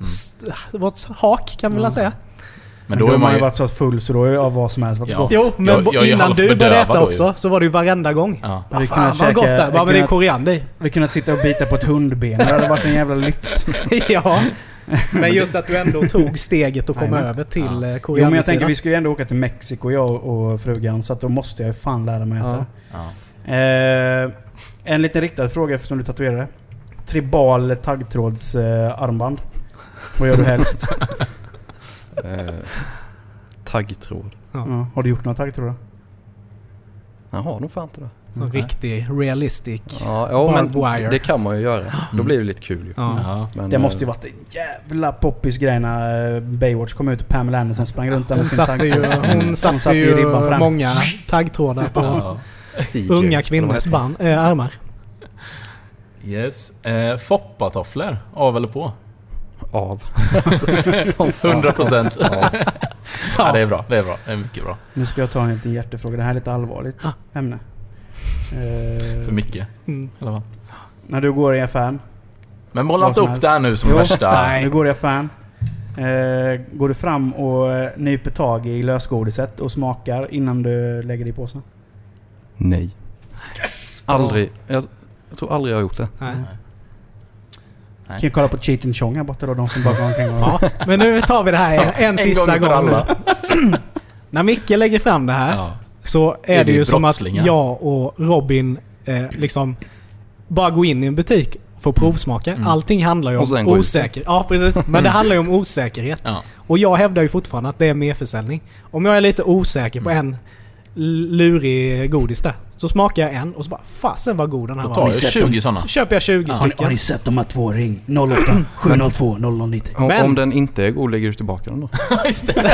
S4: s- vårt hak kan vi väl säga.
S2: Men då är man ju...
S3: varit så full så då är av vad som helst varit
S2: Ja.
S3: gott.
S4: Jo, men
S2: Jag- jag är ju
S4: innan du
S2: halvbedövad
S4: började äta
S2: då ju.
S4: också så var det ju varenda gång.
S2: Ja.
S4: Vad
S3: Vi kunde
S4: fan vad
S3: käka-
S4: gott det är.
S3: vi
S4: Ja men det är
S3: kunde-
S4: koriander i.
S3: Vi kunnat sitta och bita på ett hundben. Det hade varit en jävla lyx.
S4: Ja. Men just att du ändå tog steget och kom
S3: Nej, men-
S4: över till eh,
S3: Jo, men jag
S4: koriandersidan.
S3: tänker vi ska ju ändå åka till Mexiko jag och och frugan. Så att då måste jag ju fan lära mig äta.
S2: Ja.
S3: Eh, en liten riktad fråga eftersom du tatuerade. Tribal taggtråds eh, armband. Vad gör du helst?
S1: Eh, taggtråd.
S3: ja. Har du gjort några taggtrådar?
S1: Jag har nog fan inte det.
S4: Sån riktig realistic.
S1: Ja, ja men
S4: Barbed wire.
S1: det, det kan man ju göra. Då blir det lite kul ju.
S4: Ja.
S2: Ja.
S1: Men,
S3: Det måste ju
S1: eh,
S3: varit en jävla poppis grej när eh, Baywatch kom ut och Pamela Anderson sprang runt där
S4: Hon
S3: med sin
S4: satte ju,
S3: taggtråd. Mm.
S4: hon satte
S3: ju
S4: ju
S3: ribban fram.
S4: många taggtrådar på
S2: Ja.
S1: CJ, eller
S4: unga
S1: vad
S4: kvinnors
S1: heter det?
S4: band, äh, armar.
S2: Yes. Eh, Foppatofflor, av eller på?
S1: Av. Som fan.
S2: 100 procent.
S1: Ja.
S2: Ja, det är bra. Det är bra. Det är mycket bra.
S3: Nu ska jag ta en liten hjärtefråga. Det här är lite allvarligt
S4: Ah.
S3: ämne. Eh,
S2: För Micke. I
S4: Mm.
S2: alla fall.
S3: när du går i affären.
S2: Men måla
S3: Vad
S2: inte
S3: som
S2: upp
S3: helst.
S2: det här nu som
S3: Jo.
S2: värsta...
S3: När du går i affären. Eh, går du fram och eh, nyper tag i lösgodiset och smakar innan du lägger det i påsen?
S1: Nej. Aldrig. Jag, jag tror aldrig jag har gjort det.
S4: Nej.
S2: Nej.
S3: Kan ju kolla på Cheat and Chong här borta då, de som bara går omkring och...
S4: Ja, men nu tar vi det här en, en sista gång.
S2: gång för alla.
S4: När Micke lägger fram det här
S2: Ja.
S4: så är,
S2: Är
S4: det
S2: vi
S4: ju som att
S2: brottslingar?
S4: jag och Robin eh, liksom bara går in i en butik för att provsmaka.
S2: Mm.
S4: Allting handlar ju
S1: Och sen
S4: om
S1: går ut.
S4: osäkerhet. Ja, precis. Men det handlar ju om osäkerhet.
S2: Ja.
S4: Och jag hävdar ju fortfarande att det är merförsäljning. Om jag är lite osäker på en l- lurig godis där, så smakar jag en och så bara fasen vad god den här
S2: Då
S4: var.
S2: tar
S3: Har ni
S2: jag
S3: sett
S2: 20 sådana.
S4: Så köper jag 20
S3: Har, ni, har
S4: stycken.
S3: ni sett de här två? Ring 08 702 090.
S1: Om,
S4: Men-
S1: om den inte är god lägger du tillbaka den då?
S2: Just det.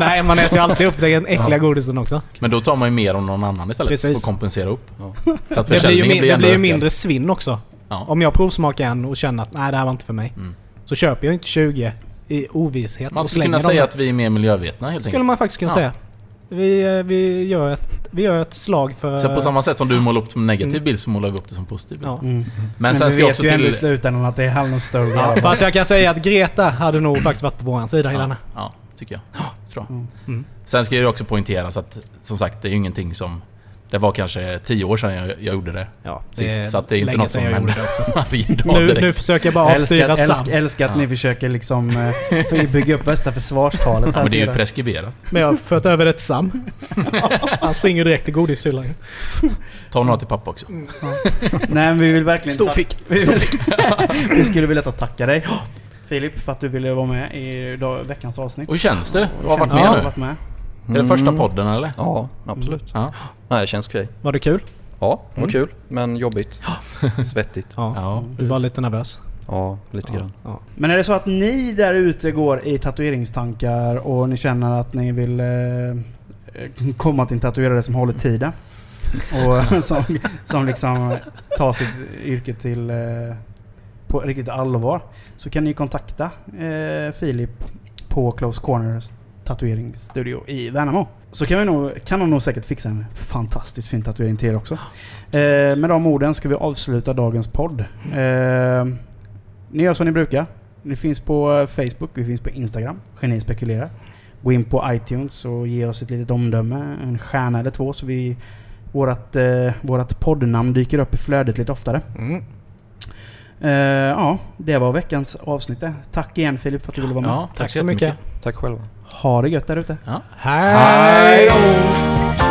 S4: Nej, man äter ju alltid upp den äckliga godisen också.
S2: Men då tar man ju mer om någon annan istället.
S4: Precis.
S2: För att kompensera upp.
S1: Ja.
S2: Så
S4: Det
S2: att
S4: blir ju,
S2: försäljningen
S4: min, det
S2: ändå
S4: blir ju
S2: ökad.
S4: mindre svinn också.
S2: Ja.
S4: Om jag provsmakar en och känner att nej, det här var inte för mig.
S2: Mm.
S4: Så köper jag inte 20 i ovisshet
S2: Man
S4: och
S2: skulle
S4: slänger
S2: kunna
S4: dem.
S2: säga att vi är mer miljövetna helt
S4: skulle man faktiskt kunna
S2: Ja.
S4: säga. Vi, eh, vi, gör ett, vi gör ett slag för...
S2: Så på samma sätt som du målar upp det som en negativ bild så målar vi upp det som positiv. bild.
S4: Mm. Ja.
S3: Mm.
S2: Men sen ska jag också
S3: ju ändå i
S2: till...
S3: slutändan att det är Hallons story.
S4: Ja, fast jag kan säga att Greta hade nog faktiskt varit på våran sida i denna.
S2: Ja, ja, tycker jag. Tror jag.
S3: Mm.
S4: Mm.
S2: Sen ska jag ju också poängteras att som sagt, det är ju ingenting som... Det var kanske tio år sedan jag, jag gjorde det
S4: Ja,
S2: sist. så att det är ju inte
S4: länge
S2: något som
S4: sedan jag gjorde
S2: händer
S4: det.
S2: varje dag
S4: Nu,
S2: direkt.
S4: nu försöker jag bara
S3: Jag älskar,
S4: avstyra Sam.
S3: älskar, älskar att
S2: Ja.
S3: ni försöker liksom eh, för- bygga upp bästa försvarstalet
S2: Ja,
S3: här.
S2: men det är ju
S3: till det.
S2: preskriberat.
S4: Men jag har fört över det till Sam. Han springer direkt till godishyllan.
S2: Ta några till pappa också.
S3: Nej men vi vill verkligen...
S4: Stor
S3: tack-
S4: fick.
S3: Vi, vill- vi skulle vilja ta tacka dig Filip för att du ville vara med i dag, veckans avsnitt.
S2: Och hur känns det? Du har varit
S3: Känns
S2: med
S3: som att du
S2: nu.
S3: har varit med.
S2: Är det första
S1: Mm.
S2: podden eller?
S1: Ja, absolut.
S2: Ja.
S1: Nej, det känns okej.
S4: Var det kul?
S1: Ja, det var
S4: Mm.
S1: kul. Men jobbigt. Svettigt.
S4: Ja.
S2: Ja,
S4: Du var lite nervös.
S1: Ja, lite grann.
S4: Ja.
S3: Men är det så att ni där ute går i tatueringstankar och ni känner att ni vill eh, komma till en tatuerare som håller tiden? Och som, som liksom tar sitt yrke till eh, på riktigt allvar. Så kan ni kontakta eh, Filip på Close Corners tatueringsstudio i Värnamo. Så kan, vi nog, kan de nog säkert fixa en fantastiskt fin tatuering till er också. Eh, med de orden ska vi avsluta dagens podd. Eh, ni gör som ni brukar. Ni finns på eh, Facebook, vi finns på Instagram. Geni spekulerar. Gå in på iTunes och ge oss ett litet omdöme. En stjärna eller två så vi... Vårat, eh, vårat poddnamn dyker upp i flödet lite oftare.
S4: Mm.
S3: Eh, ja, det var veckans avsnitt det. Tack igen Filip för att du ville vara med.
S2: Ja,
S4: Tack så mycket.
S1: Tack själva.
S3: Ha det gött där ute.
S4: Hej då!